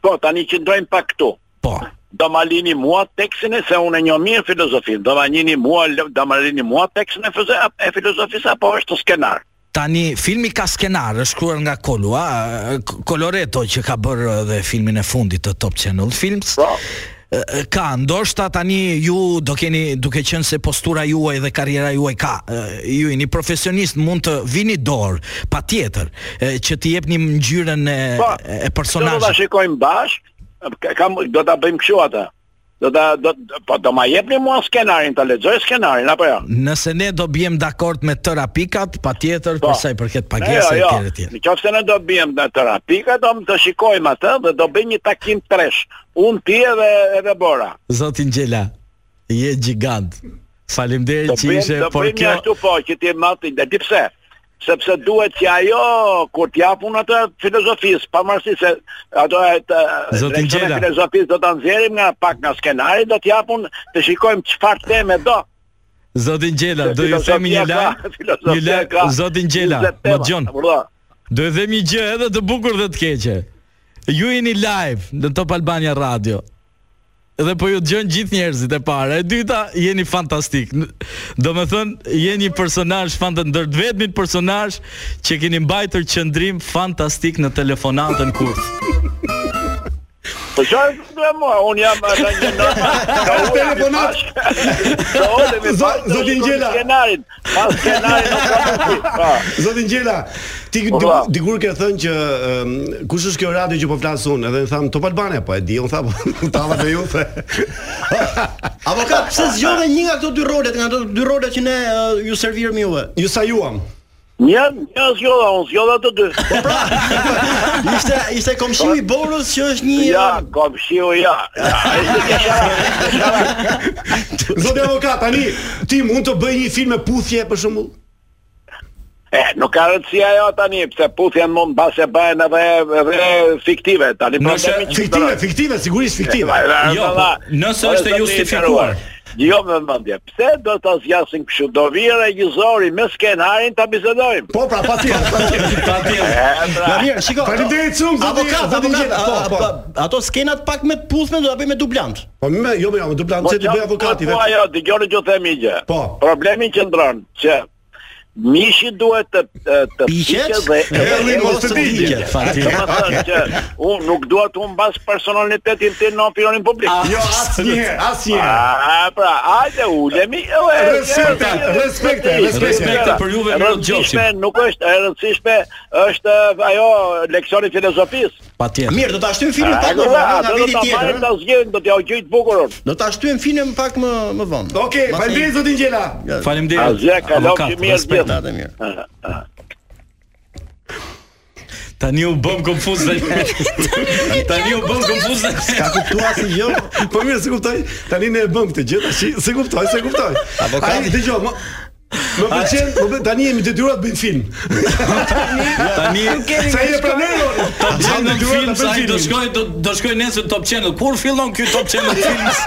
Speaker 13: Po, tani qëndrojmë pak këtu.
Speaker 3: Po.
Speaker 13: Do ma lini mua tekstin e se unë e njoh mirë filozofin. Do ma lini mua, do ma lini mua tekstin e, fizo- e filozofisë apo është skenar?
Speaker 3: Tani filmi ka skenar, është shkruar nga Kolua, e, K- Coloreto që ka bërë edhe filmin e fundit të Top Channel Films. Po. Ka, ndoshta tani ju do keni duke qenë se postura juaj dhe karriera juaj ka, e, ju jeni profesionist mund të vini dorë, patjetër, e, që t'i jepni ngjyrën e, e
Speaker 13: Po. Do ta
Speaker 3: personazhit.
Speaker 13: shikojmë bashk. ka- Kam do ta bëjmë kështu atë. Do ta do po do ma jepni mua skenarin, ta lexoj skenarin apo jo?
Speaker 3: Nëse ne do bjem dakord me tëra pikat, patjetër
Speaker 14: Po.
Speaker 3: për sa i përket
Speaker 13: Ne,
Speaker 3: pagesave
Speaker 13: jo,
Speaker 3: jo,
Speaker 13: jo.
Speaker 3: etj etj.
Speaker 13: Në qoftë se ne do bijem në terapi, ka do më të shikojmë atë dhe do bëjmë një takim tresh. Unë ti edhe edhe Bora.
Speaker 3: Zoti Ngjela,
Speaker 6: é
Speaker 3: je gjigant.
Speaker 13: Do
Speaker 3: Faleminderit që
Speaker 13: bëjmë
Speaker 3: ishe,
Speaker 13: do
Speaker 3: por
Speaker 13: bëjmë një
Speaker 3: kjo
Speaker 13: ashtu po që ti mati, dhe ti pse? Sepse duhet që ajo kur t'japun atë filozofisë, pavarësisht se ato e të
Speaker 3: Zotin
Speaker 13: leksionet
Speaker 3: Gjela.
Speaker 13: filozofisë do ta nxjerrim nga pak nga skenari, do t'japun të shikojmë çfarë teme do.
Speaker 3: Zoti Ngjela,
Speaker 13: Se
Speaker 3: do ju
Speaker 13: filozofia
Speaker 3: themi një
Speaker 13: ka-
Speaker 3: la, një
Speaker 13: filozofia
Speaker 3: la
Speaker 13: ka
Speaker 3: Zoti Ngjela,
Speaker 13: 20
Speaker 3: më
Speaker 13: tema.
Speaker 3: dëgjon.
Speaker 13: Urdhë.
Speaker 3: Do ju them një gjë edhe të bukur dhe të keqe. Ju jeni live në Top Albania Radio. Dhe po ju dëgjojnë gjithë njerëzit e para. E dyta, jeni fantastik. N- Do me thënë, jeni një personazh fantë ndër të vetmit personazh që keni mbajtur qëndrim fantastik në telefonatën kurth.
Speaker 13: Po çfarë do më, unë jam ata një Ka telefonat.
Speaker 8: Zotin Gjela.
Speaker 13: Skenarin, pas skenarin nuk ka mundsi. Po.
Speaker 8: Zoti Ngjela, ti
Speaker 13: Po,
Speaker 8: di-
Speaker 13: vlla.
Speaker 8: dikur ke thënë që um, kush është kjo radio që po flas unë? Edhe i tham Top Albania, po e di, unë tham tava me ju. the.
Speaker 4: Avokat, pse zgjodhe Jo, një nga këto dy rolet, nga ato dy rolet që ne ë, ju servirëm juve?
Speaker 8: Ju sajuam.
Speaker 13: Një, një zgjodha, unë zgjodha të dy.
Speaker 4: Ishte ishte komshiu i Borës që është një
Speaker 13: Ja, komshiu ja.
Speaker 8: Zoti avokat, tani ti mund të bëj një film me puthje për shembull?
Speaker 13: E, Eh, nuk ka rëndësi ajo tani, pse puthjen mund mbas e bëhen edhe edhe fiktive tani. po
Speaker 8: Nëse-
Speaker 13: problemi që
Speaker 8: fiktive,
Speaker 13: ndërron.
Speaker 8: fiktive, sigurisht fiktive.
Speaker 13: E, va- va-
Speaker 8: Jo,
Speaker 13: va- va-
Speaker 8: po, nëse
Speaker 13: va-
Speaker 8: është e
Speaker 13: zotri
Speaker 8: justifikuar.
Speaker 13: Jo me mendje. Pse do ta zgjasin kështu? Do vi regjizori me skenarin ta bisedojmë.
Speaker 8: Po, pra, patjetër, patjetër,
Speaker 13: patjetër.
Speaker 4: Ja mirë, shiko.
Speaker 8: Faleminderit shumë, zoti-
Speaker 4: Avokat,
Speaker 8: zoti
Speaker 4: avokat,
Speaker 8: Ngjela, po,
Speaker 4: a-
Speaker 8: po.
Speaker 4: a- Ato skenat pak me të puthme do ta bëjmë me dublant.
Speaker 8: Po më, jo, jo, do plan se ti bëj avokati
Speaker 13: Po
Speaker 8: vetë.
Speaker 13: ajo, dëgjoni ju themi gjë.
Speaker 8: Po.
Speaker 13: Problemi që ndron që mishi duhet të të- të
Speaker 4: Piqet,
Speaker 13: dhe
Speaker 4: helli mos të digjet.
Speaker 13: Fati. Do të thonë që unë nuk dua të humbas personalitetin tim në opinionin publik.
Speaker 8: Jo, asnjëherë, asnjëherë.
Speaker 13: A, pra, hajde ulemi. e, e, e,
Speaker 8: Respekte,
Speaker 13: e, e,
Speaker 8: respekte,
Speaker 13: e, e, e,
Speaker 8: respekte.
Speaker 10: Respekte për juve,
Speaker 13: E
Speaker 10: Miro
Speaker 13: rëndësishme
Speaker 10: Gjoksi.
Speaker 13: Nuk është e rëndësishme është e, ajo leksioni i filozofisë.
Speaker 6: Patjetër.
Speaker 4: Mirë, do ta shtyjmë filmin pak më vonë, nga viti tjetër.
Speaker 13: Do ta zgjedhim, do t'ja gjej të bukurën.
Speaker 4: Do ta shtyjmë filmin pak më më vonë.
Speaker 8: Okej, faleminderit zotin Gjela.
Speaker 6: Faleminderit.
Speaker 13: Azja kalofshi mirë
Speaker 6: respekt.
Speaker 13: gjithë.
Speaker 4: Natë mirë.
Speaker 6: Tani u bëm konfuz dhe Tani u bëm konfuz dhe
Speaker 4: Ka kuptuar asnjë gjë?
Speaker 8: Po mirë, se kuptoj. Tani ne e bëm këtë gjë tash, se kuptoj, se kuptoj.
Speaker 4: Avokati.
Speaker 8: Ai dëgjoj, më Më pëlqen, më pëlqen, tani jemi detyruar të bëjmë film.
Speaker 6: Tani
Speaker 8: Sa i e pranojnë?
Speaker 6: Top Channel Films ai do shkoj do, do shkoj nesër Top Channel. Kur fillon ky Top Channel Films?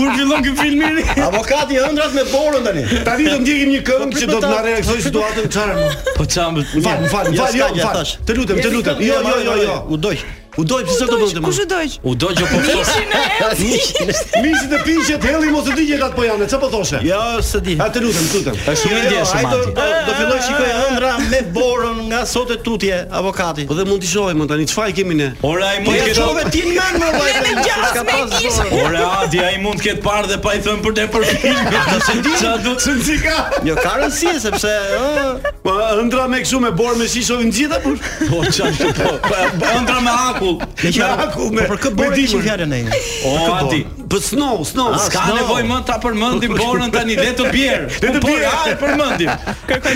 Speaker 6: Kur fillon ky film i ri?
Speaker 4: Avokati ëndrat me borën tani.
Speaker 8: Tani do ndjekim një këngë që do të na reaktoj situatën çfarë.
Speaker 6: Po çam
Speaker 8: Më fal, më fal, më
Speaker 4: Jo,
Speaker 8: fal,
Speaker 4: s'ka
Speaker 8: jo,
Speaker 4: gjë,
Speaker 8: më fal.
Speaker 4: thash.
Speaker 8: Të lutem, të lutem. Jo, jo, jo, jo.
Speaker 4: U doj.
Speaker 8: U doj, pse do bëhet më?
Speaker 15: Kush u dojq?
Speaker 6: U do gjë po ftos.
Speaker 8: Mishi të piqet, helli mos të digjet atë po janë, çfarë po thoshe?
Speaker 4: Jo, s'e di.
Speaker 8: A të lutem, të lutem. Jo,
Speaker 6: Është shumë i ndjeshëm
Speaker 4: do
Speaker 6: anti.
Speaker 4: do- do filloj shikoj ëndra me borën nga sot e tutje avokati.
Speaker 8: Po dhe mund t'i shohim unë tani çfarë kemi ne?
Speaker 6: Ora ai
Speaker 4: Po
Speaker 6: mund
Speaker 4: ja
Speaker 6: të
Speaker 4: çove
Speaker 6: ketë
Speaker 4: ti në ngën më vllai.
Speaker 15: Me
Speaker 4: s'ka
Speaker 15: gjas, me
Speaker 4: pas
Speaker 15: kish.
Speaker 4: dorë.
Speaker 6: Ora Adi ai mund të ketë parë dhe pa i thënë për ne për film. Do se di. Ça do të
Speaker 8: Çika.
Speaker 4: Jo, ka rëndësi sepse ë
Speaker 8: Po ëndra me kështu me borë me shish shohin gjithë apo?
Speaker 6: Po çam po. po, Ëndra me akull.
Speaker 4: Me
Speaker 8: Me aku, me-
Speaker 4: Po për kë
Speaker 8: me
Speaker 4: borë kishin
Speaker 8: dimër.
Speaker 4: fjalën ai?
Speaker 6: O Adi.
Speaker 8: Po snow,
Speaker 4: Ah,
Speaker 8: snow.
Speaker 6: S'ka nevojë më ta përmendim borën tani, le të bjerë.
Speaker 8: Le të bjerë.
Speaker 6: ai përmendim.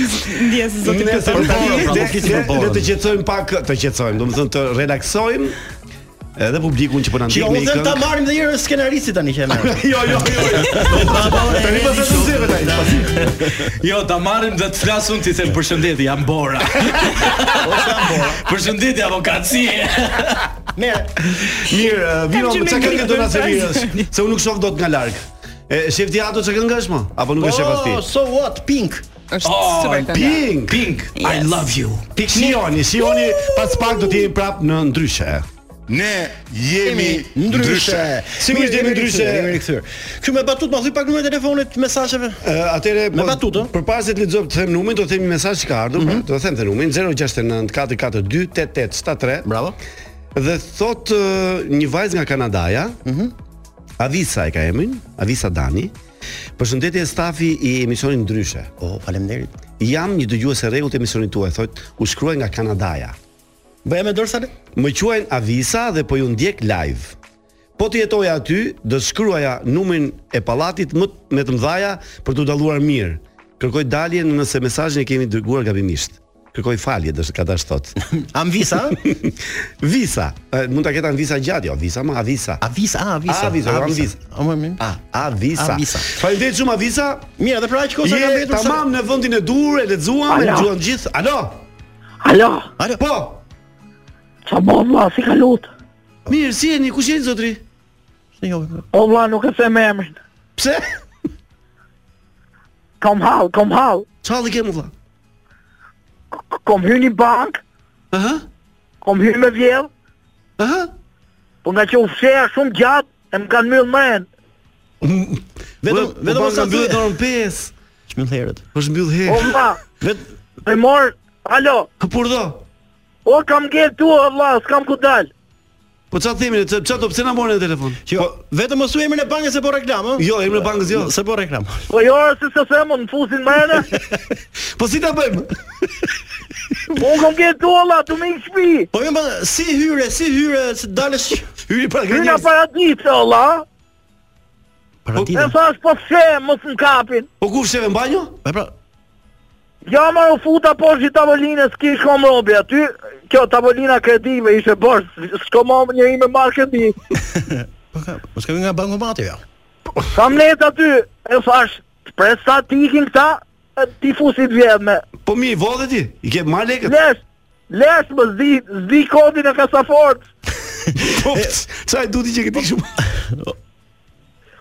Speaker 15: Ndjesë
Speaker 8: Ne
Speaker 15: zoti
Speaker 8: po
Speaker 15: Pjesor.
Speaker 8: tani
Speaker 4: pra,
Speaker 8: le-
Speaker 4: nuk flisim
Speaker 8: le-
Speaker 4: për borën.
Speaker 8: le të qetësojmë pak, të qetësojmë, domethënë të relaksojmë edhe publikun që po na
Speaker 4: Që
Speaker 8: ndjek me
Speaker 4: unë
Speaker 8: një
Speaker 4: them ta
Speaker 8: këngë.
Speaker 4: marrim dhe një skenaristë tani që e merr.
Speaker 8: Jo, jo, jo. jo. Tani pas e të zeve tani.
Speaker 6: Jo, ta marrim dhe të flasun ti them përshëndetje, jam Bora.
Speaker 4: Ose ambora.
Speaker 6: Përshëndetje avokacie.
Speaker 4: Merë.
Speaker 8: Mirë, eh, Viro,
Speaker 15: Kam që
Speaker 8: çka
Speaker 15: me
Speaker 8: këngë
Speaker 15: ngritë
Speaker 8: do na
Speaker 15: në
Speaker 8: servirësh? Se unë nuk shoh dot nga larg. E shef ti ato çka këngë është më? Apo nuk e shef as ti?
Speaker 4: Po, so what, pink.
Speaker 15: Është
Speaker 6: Oh,
Speaker 15: super këngë.
Speaker 8: Pink.
Speaker 6: Pink, I
Speaker 15: Yes.
Speaker 6: love you.
Speaker 8: Pik Shioni, Shioni pas pak do të jemi prap në ndryshe.
Speaker 16: Ne jemi ndryshe.
Speaker 8: Sigurisht jemi ndryshe.
Speaker 4: Jemi rikthyer. Ky me batut ma thuj pak numrin e telefonit, mesazheve.
Speaker 8: Atëre
Speaker 4: Me batut, ë? Mhm.
Speaker 8: përpara se të lexojmë të them numrin, do të themi mesazh që ka ardhur, pra, do të them të numrin 069 442 8873.
Speaker 4: Bravo.
Speaker 8: Dhe thot ë, një vajzë nga Kanadaja,
Speaker 4: Mhm.
Speaker 8: Avisa e ka emrin, Avisa Dani. Përshëndetje stafi i emisionit ndryshe.
Speaker 4: Oh, faleminderit.
Speaker 8: Jam një dëgjues e rregullt të emisionit tuaj, thot, u shkruaj nga Kanadaja.
Speaker 4: Bëja me dorë sale?
Speaker 8: Më quajnë Avisa dhe po ju ndjek live. Po të jetoja aty, do të shkruaja numrin e pallatit më t- me të mëdhaja për të dalluar mirë. Kërkoj daljen nëse mesazhin e kemi dërguar gabimisht. Kërkoj falje, do ka dash thot.
Speaker 4: Am visa?
Speaker 8: Visa, e, mund ta ketë visa gjatë, jo, visa më avisa.
Speaker 4: A visa, a visa.
Speaker 8: A, visa, am visa.
Speaker 4: A më mirë.
Speaker 8: A, avisa.
Speaker 4: ah, Avisa.
Speaker 8: Faleminderit shumë avisa.
Speaker 4: Mirë, edhe për aq kohë sa ka
Speaker 8: Je
Speaker 4: mbetur. sa-
Speaker 8: tamam në vendin e dur, e lexuam, e
Speaker 10: Alo.
Speaker 8: dëgjuan gjithë. Alo.
Speaker 10: Alo,
Speaker 4: Alo.
Speaker 8: Po.
Speaker 10: qa bo vla, si ka lutë?
Speaker 8: Mirë, si jeni? Kush jeni zotri?
Speaker 4: s'e njohim.
Speaker 10: O vla, nuk e se me emrin.
Speaker 8: Pse?
Speaker 10: Kom hall, kom hall.
Speaker 8: Çalli kemu vlla.
Speaker 10: K- Kom hy një bank,
Speaker 8: Aha.
Speaker 10: kom hy me vjell,
Speaker 8: Aha.
Speaker 10: po nga që u fsheja shumë gjatë, e më kanë myllë mrenë.
Speaker 4: Vetëm vetëm
Speaker 8: mos
Speaker 4: sa
Speaker 8: mbyllet orën 5.
Speaker 4: Shmbyll herët.
Speaker 8: Po shmbyll
Speaker 10: O
Speaker 8: herë. Po,
Speaker 10: vla,
Speaker 4: Vet
Speaker 10: e morë, alo,
Speaker 8: Por do.
Speaker 10: o kam gjetë tu, o vla, s'kam ku dalë.
Speaker 8: Po çfarë themi, ne? çfarë do pse na morën në telefon?
Speaker 4: që
Speaker 8: Po,
Speaker 4: vetëm mos u emrin e bankës se po reklam, ë?
Speaker 8: Jo, emrin e bankës, jo.
Speaker 4: Se po reklam.
Speaker 10: Po jo, se se se mund, në fusin mrenë,
Speaker 8: po si ta bëjmë?
Speaker 10: po unë kam gjetë tu, o vla, tu me i shpi.
Speaker 4: Po
Speaker 8: jo,
Speaker 4: më bën si hyre, si hyre, si dalësh
Speaker 8: Hyri
Speaker 4: pra
Speaker 8: para
Speaker 10: Hy nga
Speaker 8: grenjës.
Speaker 10: paradisë, o vla, e
Speaker 4: paradita.
Speaker 10: thash po fsheja, mos më kapin.
Speaker 8: Po ku fsheve në banjo?
Speaker 4: Po pra,
Speaker 10: Ja ma u futa po poshtë i tavolinës, s'kish kom robi aty, kjo tavolina kredive ishte borë, s'ko ma njëri me marrë kredi.
Speaker 4: po ka, mos ka vi nga bankomati ja.
Speaker 10: Kam let aty, e thash, pres sa ti ikin këta, e ti fusit vjedhme.
Speaker 8: Po mi vodhe ti. I ke marr lekët.
Speaker 10: Lesh, lesh më zdi, zdi kodin e kasafort.
Speaker 8: Po çaj duti që këti shumë.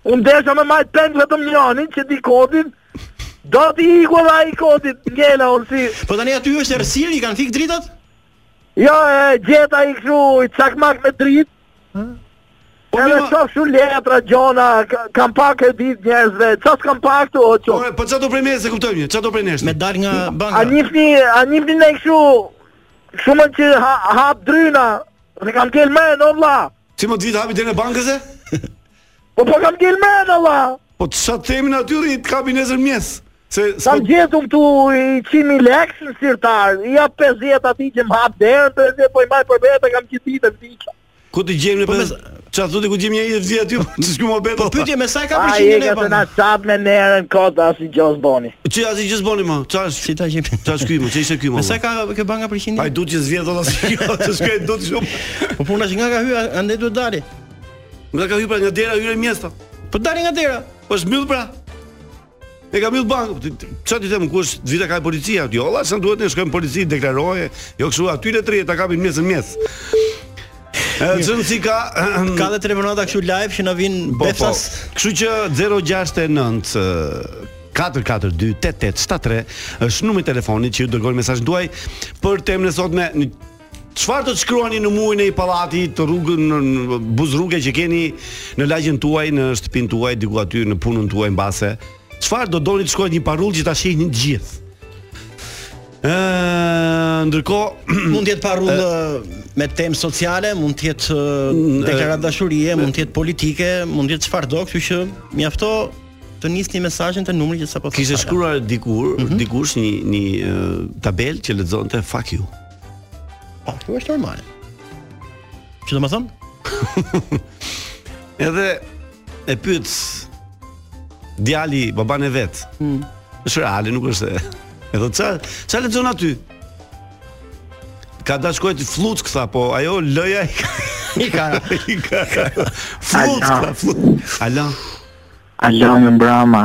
Speaker 10: Unë desha me majtë pengë vetëm njanin që di kodin, do t'i iku dhe i kodin, njela unë si.
Speaker 4: Po tani aty është errësiri, kanë fik dritat?
Speaker 10: Jo, e, gjeta i këshu, i cakmak me dritë,
Speaker 8: Po mi
Speaker 10: Edhe
Speaker 8: ma-
Speaker 10: qof shumë letra, gjona, ka- kam pak e dit njerëzve, qa s'kam pak të o qof.
Speaker 8: Ore, po çfarë do prej nesh, e kuptojmë një. Çfarë do prej nesh?
Speaker 4: Me dal nga banka.
Speaker 10: A njifni, a njifni në këshu, shumën që ha, hap dryna, dhe kam kel men, o vla,
Speaker 8: Si më të vit hapi deri në bankës e?
Speaker 10: po po kam kel men, o vla,
Speaker 8: Po çfarë themin aty rrit kapi nesër mjes. Se
Speaker 15: Kam gjetur këtu 100.000 lekë në sirtar. Ja 50 atij që më hap derën, 30 po i mbaj për vete, kam qitë vika.
Speaker 8: Ku të gjejmë
Speaker 4: Po
Speaker 8: ne pas? Çfarë thotë ku gjejmë një jetë vjet aty? Ç'ku më bëhet? Po
Speaker 4: pyetje me sa
Speaker 15: Ka për qitë lekë. Ai ka na çap me nerën kot as i gjos boni.
Speaker 8: Çi as i gjëzboni më? Çfarë? Si
Speaker 4: ta gjejmë?
Speaker 8: Çfarë shkoj më? Çe ishte ky më?
Speaker 4: Me sa ka kjo banka përqindje?
Speaker 8: Ai duhet që zvjet dot as kjo, të shkoj dot shumë.
Speaker 4: Po puna që nga ka hyrë, andaj duhet dali.
Speaker 8: Nga ka hyrë pra nga dera hyre mjesta.
Speaker 4: Po dali nga dera.
Speaker 8: Po shmbyll pra. E ka mbyll bankën. Ti- ti- Çfarë ti them ku është vita ka e policia aty? Olla, sa duhet ne shkojmë polici deklaroje, jo kështu aty le tre ta kapin mesën mes. Ë çon si ka
Speaker 4: Ka dhe telefonata kështu live që na vin
Speaker 8: Po, po.
Speaker 4: befas.
Speaker 8: Kështu që 069 ë, 442 8873 është numri i telefonit që ju dërgoj mesazhin tuaj për temën e sotme. Në Çfarë do të shkruani në muin e i pallati, të rrugën në në buzrruge që keni në lagjen tuaj, në shtëpinë tuaj, diku aty në punën tuaj mbase? Çfarë do doni të shkruajë një parull që ta shihni të gjithë? Ë, ndërkohë
Speaker 4: Mund të jetë parull me temë sociale, mund të jetë
Speaker 8: N-
Speaker 4: deklaratë dashurie,
Speaker 8: e-
Speaker 4: mund të jetë politike, mund të jetë çfarë do, kështu që mjafto të nisni mesazhin te numri që po sapo
Speaker 8: Kishte
Speaker 4: thasha.
Speaker 8: shkruar dikur, dikush një një ë, tabelë që lexonte fuck you.
Speaker 4: Po, kjo është normale. Që do më thonë?
Speaker 8: Edhe e pyet djali baban e vet.
Speaker 4: Mm.
Speaker 8: Është reale, nuk është. e- E thotë ça ça lexon aty? Ka dashkoj të fluck tha, po ajo lëja i ka
Speaker 4: i ka
Speaker 8: i ka. Fluck tha, fluck. Alo.
Speaker 14: Alo, më mbrama.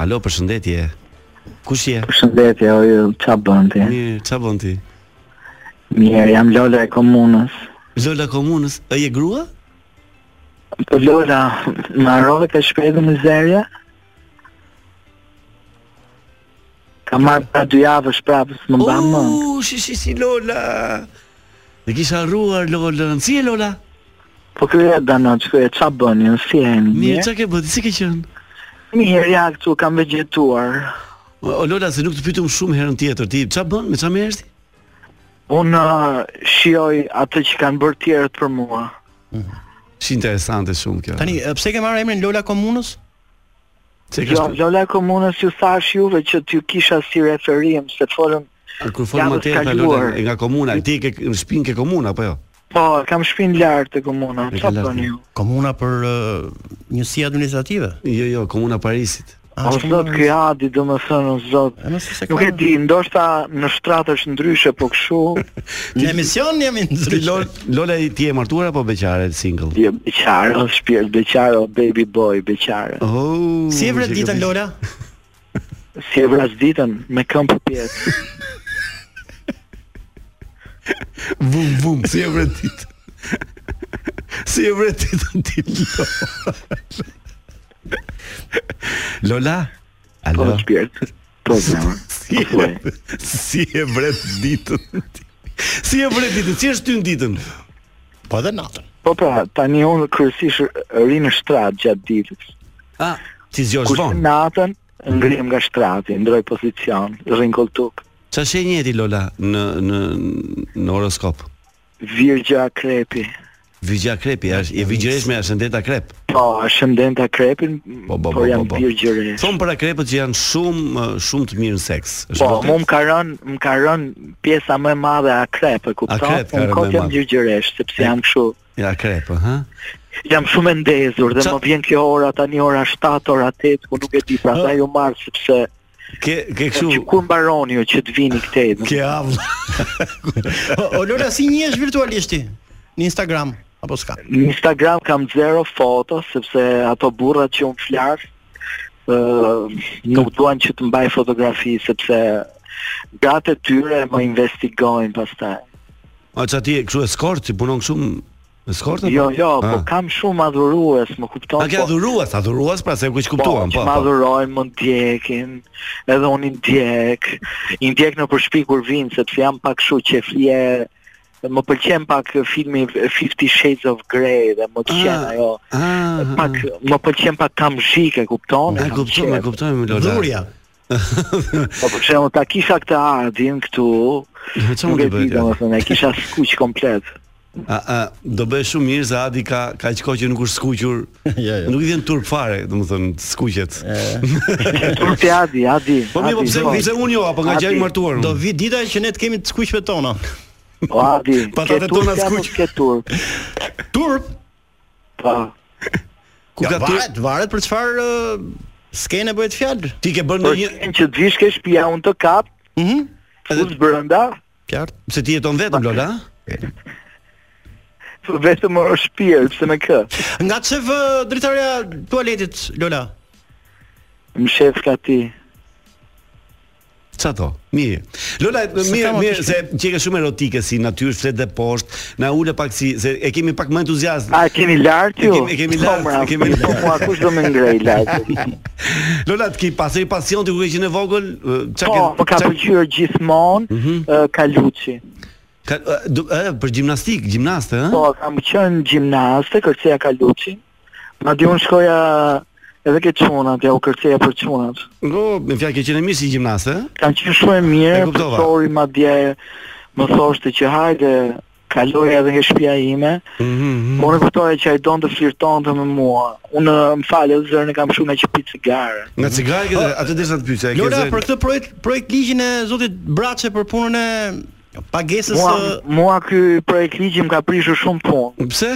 Speaker 8: Alo, përshëndetje. Kush je?
Speaker 14: Përshëndetje, o ju, qa bën ti?
Speaker 8: Mirë, ça bën ti?
Speaker 14: Mirë, jam Lola e komunës.
Speaker 8: Lola e komunës, e je grua?
Speaker 14: Po Lola, më arrove ka shpejtë në zerje? Ka marrë pra dy javësh prapë, s'më mba më.
Speaker 8: U, Oh, shi shi si Lola. Dhe kisha harruar Lola. Si e Lola?
Speaker 14: Po kjo e dano, që kjo e qa bëni, në si e një,
Speaker 8: Mirë, çka ke bërë? Si ke qenë?
Speaker 14: Mirë, ja, këtu kam vegjetuar.
Speaker 8: O o, Lola, se nuk të pyetëm shumë herën tjetër. Ti ç'a bën? Me ç'a merresh ti?
Speaker 14: Unë uh, shioj atë që kanë bërë tjerët për mua.
Speaker 8: Si interesante shumë kjo.
Speaker 4: Tani, e, pse ke marrë emrin Lola Komunës?
Speaker 8: Se
Speaker 14: Jo, Lola e komunës ju thash juve që t'ju kisha si referim, se folëm
Speaker 8: kur forma
Speaker 14: javës
Speaker 8: te ka Lola e nga komuna, ti ke në shpinë ke komuna apo jo?
Speaker 14: Po, kam shpinë lartë të komuna,
Speaker 8: E
Speaker 14: qa
Speaker 8: ke lartë.
Speaker 14: bën ju?
Speaker 4: Komuna për uh, njësi administrative? Ah,
Speaker 8: Jo, jo, komuna Parisit.
Speaker 14: O Po zot ky Adi do më thënë o zot. Nuk e di, ndoshta në shtrat është ndryshe, po kështu
Speaker 4: Në emision jemi
Speaker 8: Ti Lola, Lola ti je martuar apo beqare single?
Speaker 14: je beqare, o shpirt beqare, o baby boy beqare.
Speaker 8: Oh.
Speaker 4: Si e vret ditën Lola?
Speaker 14: Si e vras ditën me këmbë për pjesë.
Speaker 8: Vum vum, si e vret ditë. si e vret ditën ti Lola. Lola,
Speaker 14: Po
Speaker 8: alo.
Speaker 14: shpirt. Po zemër.
Speaker 8: Si e, si e vret ditën ti? Si e vret ditën? Si është ty në ditën?
Speaker 4: Po edhe natën.
Speaker 14: Po pra, tani unë kryesisht ri në shtrat gjatë ditës.
Speaker 8: Ah, ti zgjosh
Speaker 14: Kur
Speaker 8: vonë. Mhm.
Speaker 14: natën ngrihem nga shtrati, ndroj pozicion, rrinkull tuk.
Speaker 8: Qa shenje e ti Lola në, në, në horoskop?
Speaker 14: Virgja krepi.
Speaker 8: Vigja krepi, është, je vigjeresh me ashendeta krep
Speaker 14: Po, shëndenta krepin, po,
Speaker 8: po, po,
Speaker 14: jam
Speaker 8: po, po.
Speaker 14: virgjëre.
Speaker 8: Thonë për akrepët që janë shumë, ë, shumë të mirë në seks
Speaker 14: Po,
Speaker 8: vërtet?
Speaker 14: mu më ka rënë, më ka rënë pjesa më e madhe a krep, e kupton?
Speaker 8: Akrep ka
Speaker 14: Unë
Speaker 8: rënë më e
Speaker 14: kot jam
Speaker 8: madhe.
Speaker 14: gjygjëresh, sepse jam kështu,
Speaker 8: Ja, krepë, ha?
Speaker 14: jam shumë e ndezur dhe
Speaker 8: Qa-
Speaker 14: më vjen kjo ora tani ora 7, ora 8, ku nuk e di, prandaj ju marr sepse
Speaker 8: Ke,
Speaker 14: që
Speaker 8: ke këshu,
Speaker 14: ku mbaroni ju që të vini këtej.
Speaker 8: ke avla
Speaker 4: O, o Lola, si njihesh virtualisht ti? Në Instagram apo s'ka?
Speaker 14: Në Instagram kam zero foto sepse ato burrat që un flas ë nuk duan që të mbaj fotografi sepse gratë e tyre më investigojnë pastaj.
Speaker 8: A që ti këshu eskort, që punon këshu eskort? apo?
Speaker 14: Jo, jo, po
Speaker 8: Ah.
Speaker 14: kam shumë adhurues, më kupton.
Speaker 8: A ke
Speaker 14: po-
Speaker 8: adhuruas, adhuruas pra se ku që kuptuam,
Speaker 14: po,
Speaker 8: po,
Speaker 14: që më
Speaker 8: po.
Speaker 14: adhurojnë, më ndjekin, edhe unë i ndjek, i ndjek në përshpi kur vinë, sepse jam pak shu që flje, më pëlqen pak filmi Fifty Shades of Grey dhe më pëlqen
Speaker 8: Ah,
Speaker 14: ajo,
Speaker 8: ah,
Speaker 14: pak, më pëlqen pak kam zhike, kupton?
Speaker 8: E
Speaker 14: Kam
Speaker 8: kuptoj,
Speaker 14: qef.
Speaker 8: e kuptoj, Lola.
Speaker 4: Dhurja.
Speaker 14: Po për shembull ta kisha këtë ardhin këtu, nuk
Speaker 8: çfarë mund
Speaker 14: e
Speaker 8: të bëj
Speaker 14: di
Speaker 8: tjetër?
Speaker 14: domethënë, e kisha skuq komplet.
Speaker 8: A, a, do bëj shumë mirë se Adi ka ka çka që nuk është skuqur.
Speaker 4: ja, ja.
Speaker 8: Nuk i vjen turp fare, domethënë skuqet.
Speaker 14: Turpi Adi, Adi.
Speaker 8: Po mirë, po pse pse unë jo, apo nga gjaj martuar.
Speaker 4: Do vi dita që ne të kemi të skuqve tona.
Speaker 14: O Adi,
Speaker 8: Patatet tona skuq.
Speaker 14: Po, Ke turp.
Speaker 4: Turp?
Speaker 14: Po.
Speaker 4: Ku ka varet, varet për çfarë uh, ë, skene bëhet fjalë.
Speaker 8: Ti ke bërë
Speaker 14: Por
Speaker 8: ndonjë
Speaker 14: qenë Po, që të vish ke shtëpia unë të kap.
Speaker 4: Mhm.
Speaker 14: Fut brenda,
Speaker 4: Qartë.
Speaker 8: pse ti jeton vetëm Lola?
Speaker 14: vetëm o shtëpi, pse me kë?
Speaker 4: Nga çe vë dritaria tualetit Lola.
Speaker 14: Më shef ka ti.
Speaker 8: Çfarë to? Mirë. Lola, mirë,
Speaker 4: ka më
Speaker 8: mirë
Speaker 4: të
Speaker 8: se ti ke shumë erotike si natyrë flet dhe poshtë. Na ule pak si se e kemi pak më entuziazëm.
Speaker 14: A e keni lart
Speaker 8: E
Speaker 14: ju?
Speaker 8: kemi- e kemi lart,
Speaker 14: Po, mra,
Speaker 8: e kemi lart.
Speaker 14: Po mua kush do më ngrej lart?
Speaker 8: Lola, ti ke pasur pasion ti ku ke qenë e vogël, ë, çka
Speaker 14: Po,
Speaker 8: ke?
Speaker 14: po ka
Speaker 8: çka- Mhm.
Speaker 14: pëlqyer gjithmonë ë, Kaluçi.
Speaker 8: Ka, ë, do- ë, për gjimnastik, gjimnaste, ë?
Speaker 14: Po, kam qenë gjimnaste, kërceja Kaluçi. Madje unë shkoja edhe ke çunat, ja u kërceja për çunat.
Speaker 8: Po, me fjalë ke qenë mirë si gjimnaste, ë?
Speaker 14: Kam qenë shumë e
Speaker 8: E
Speaker 14: mirë,
Speaker 8: kuptova.
Speaker 14: profesori madje më thoshte që hajde kaloja edhe nga shtëpia ime.
Speaker 8: Mhm.
Speaker 14: Po unë e kuptoja që ai donte flirtonte me mua. Unë më falë zërin e kam shumë nga që pi cigare.
Speaker 8: Nga cigare ke atë derisa të pyesë, e ke
Speaker 4: Lola
Speaker 8: zënë.
Speaker 4: për këtë projekt projekt ligjin e zotit Braçe për punën e pagesës uh,
Speaker 14: Mua,
Speaker 4: së-
Speaker 14: mua ky projekt ligji më ka prishur shumë punë.
Speaker 8: Pse?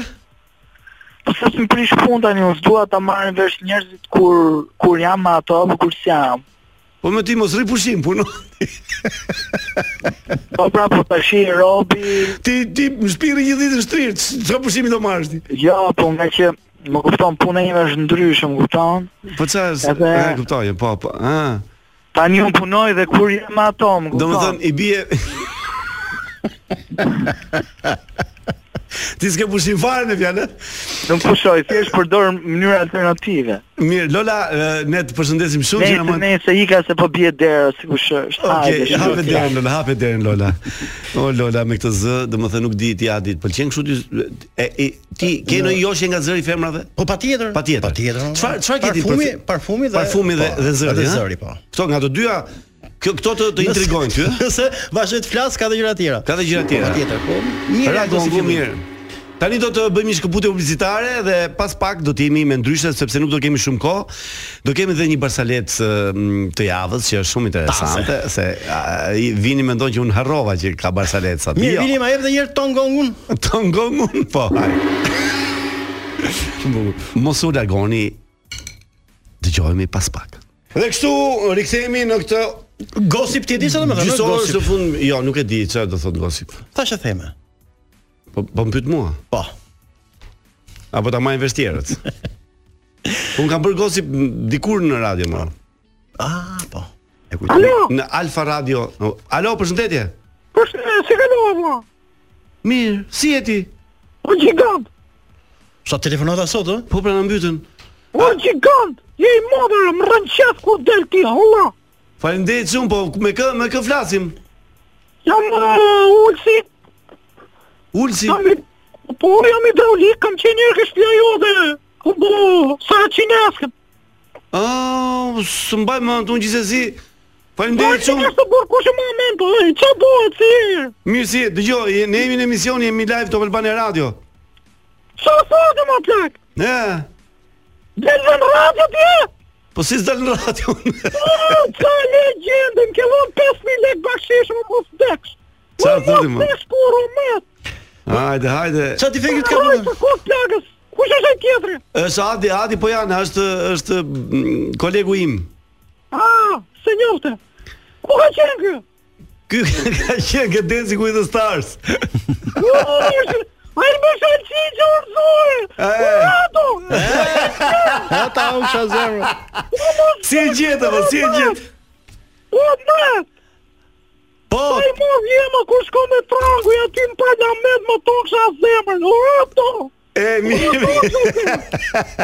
Speaker 14: Po se më prish punë tani, unë s'dua ta marrin vesh njerëzit kur kur jam me ato, apo kur s'jam.
Speaker 8: Po me ti mos rri pushim, puno.
Speaker 14: Po pra po tash i robi,
Speaker 8: Ti ti në shtëpi rri një ditë shtrirë, çka pushimi do marrësh ti?
Speaker 14: jo, po nga që më kupton puna ime është ndryshe, më kupton?
Speaker 8: Po çfarë?
Speaker 14: Edhe-
Speaker 8: E kuptoj, po, po. Ë.
Speaker 14: Tani unë punoj dhe kur jam me ato, më kupton?
Speaker 8: Do më thënë, i bie... Ti s'ke pushim fare në fjallë?
Speaker 14: Nuk pushoj, thjesht përdor mënyra alternative.
Speaker 8: Mirë, Lola, e, ne të përshëndesim shumë që
Speaker 14: Nëse
Speaker 8: na mund...
Speaker 14: nëse ika se po bie dera si kush është.
Speaker 8: Okej,
Speaker 14: Hajde,
Speaker 8: hape
Speaker 14: shkoj.
Speaker 8: derën Lola, hape derën Lola. O Lola me këtë z, domethënë nuk di ti a di të pëlqen kështu ti e, e, ti ke ndonjë joshje nga zëri i femrave?
Speaker 4: Po patjetër.
Speaker 8: Patjetër.
Speaker 4: Patjetër.
Speaker 8: Çfarë çfarë ke ti? për-
Speaker 4: Parfumi, parfumi dhe
Speaker 8: parfumi dhe,
Speaker 4: po,
Speaker 8: dhe zëri,
Speaker 4: Dhe
Speaker 8: ha?
Speaker 4: zëri, po.
Speaker 8: Këto nga të dyja kjo këto të, të intrigojnë ty, ë?
Speaker 4: Nëse vazhdoj të flas ka dhe gjëra tjera.
Speaker 8: Ka dhe gjëra tjera.
Speaker 4: Patjetër, po. Mirë,
Speaker 8: Ra,
Speaker 4: do si
Speaker 8: gongu,
Speaker 4: fillim.
Speaker 8: mirë. Tani do të bëjmë një shkëputje publicitare dhe pas pak do të jemi me ndryshe sepse nuk do kemi shumë kohë. Do kemi edhe një barsalet ë, m, të javës që është shumë interesante se a, i vini mendon që un harrova që ka barsalet sa
Speaker 4: Mirë, vini ma jep edhe një herë tongongun.
Speaker 8: Tongongun po. hajde. Shumë bukur. Mos u largoni. Dëgjohemi pas pak. Dhe kështu rikthehemi në këtë
Speaker 4: Gossip ti e di çfarë do të thonë?
Speaker 8: gjysorës
Speaker 4: Gossip.
Speaker 8: të fund, jo, nuk e di çfarë do thot gosip.
Speaker 4: Tash e theme.
Speaker 8: Po po më pyet mua.
Speaker 4: Po.
Speaker 8: Apo ta marrin vesh tjerët. Un kam bërë gosip m, dikur në radio më.
Speaker 4: Ah, po. E kujtoj.
Speaker 8: Alo. Në Alfa Radio. O, Alo, përshëndetje.
Speaker 15: Po shë, si ka lova mua?
Speaker 8: Mirë, si je ti?
Speaker 15: O gjigant,
Speaker 4: Sa telefonata sot, ë?
Speaker 8: Po pra na mbytën.
Speaker 15: o gjigant, je i madhër, më rënë qef kur del ti, holla.
Speaker 8: Faleminderit shumë, po me kë me kë flasim?
Speaker 15: Jam uh, ulsi,
Speaker 8: Ulsi.
Speaker 15: jam i... Po unë jam hidraulik, kam qenë njërë kështë lja jo dhe... Ku bo, sa e qineskët.
Speaker 8: Ah, së mbaj më unë gjithsesi.
Speaker 15: Po e
Speaker 8: Faleminderit shumë.
Speaker 15: qinesë të burë, ku shë më amen, po, e, që bëhet si e?
Speaker 8: Mirë si, je? dëgjoj, je- ne jemi në emision, jemi live Top Albania Radio.
Speaker 15: Sa sa të më plak?
Speaker 8: Ne.
Speaker 15: Del dhe në radio tje?
Speaker 8: Po si s'dal në radio?
Speaker 15: O, ca legjende, më ke dhënë 5.000 lek bakshish, më mos deksh.
Speaker 8: Qa thotim,
Speaker 15: më?
Speaker 8: mo?
Speaker 15: Mos deksh kur, o met.
Speaker 8: Hajde, hajde.
Speaker 4: Sa defektet ka
Speaker 15: Hajde,
Speaker 4: bërë?
Speaker 15: të kohë plakës. Kush është ai tjetri?
Speaker 8: Është Adi, Adi po janë, është është mm, kolegu im.
Speaker 15: Ah, se njofte. Ku ka qenë kjo?
Speaker 8: Ky ka qenë ke Dancing with the Stars.
Speaker 15: Ai më shëlqi që unë zore. Urato!
Speaker 4: Ata u kisha zemra.
Speaker 8: Si e gjetë apo si e gjetë?
Speaker 15: O, met!
Speaker 8: Po,
Speaker 15: Ai më vjema kur shko me trangu, ja ty në parlament më toksha zemrën. Urato!
Speaker 8: e mirë.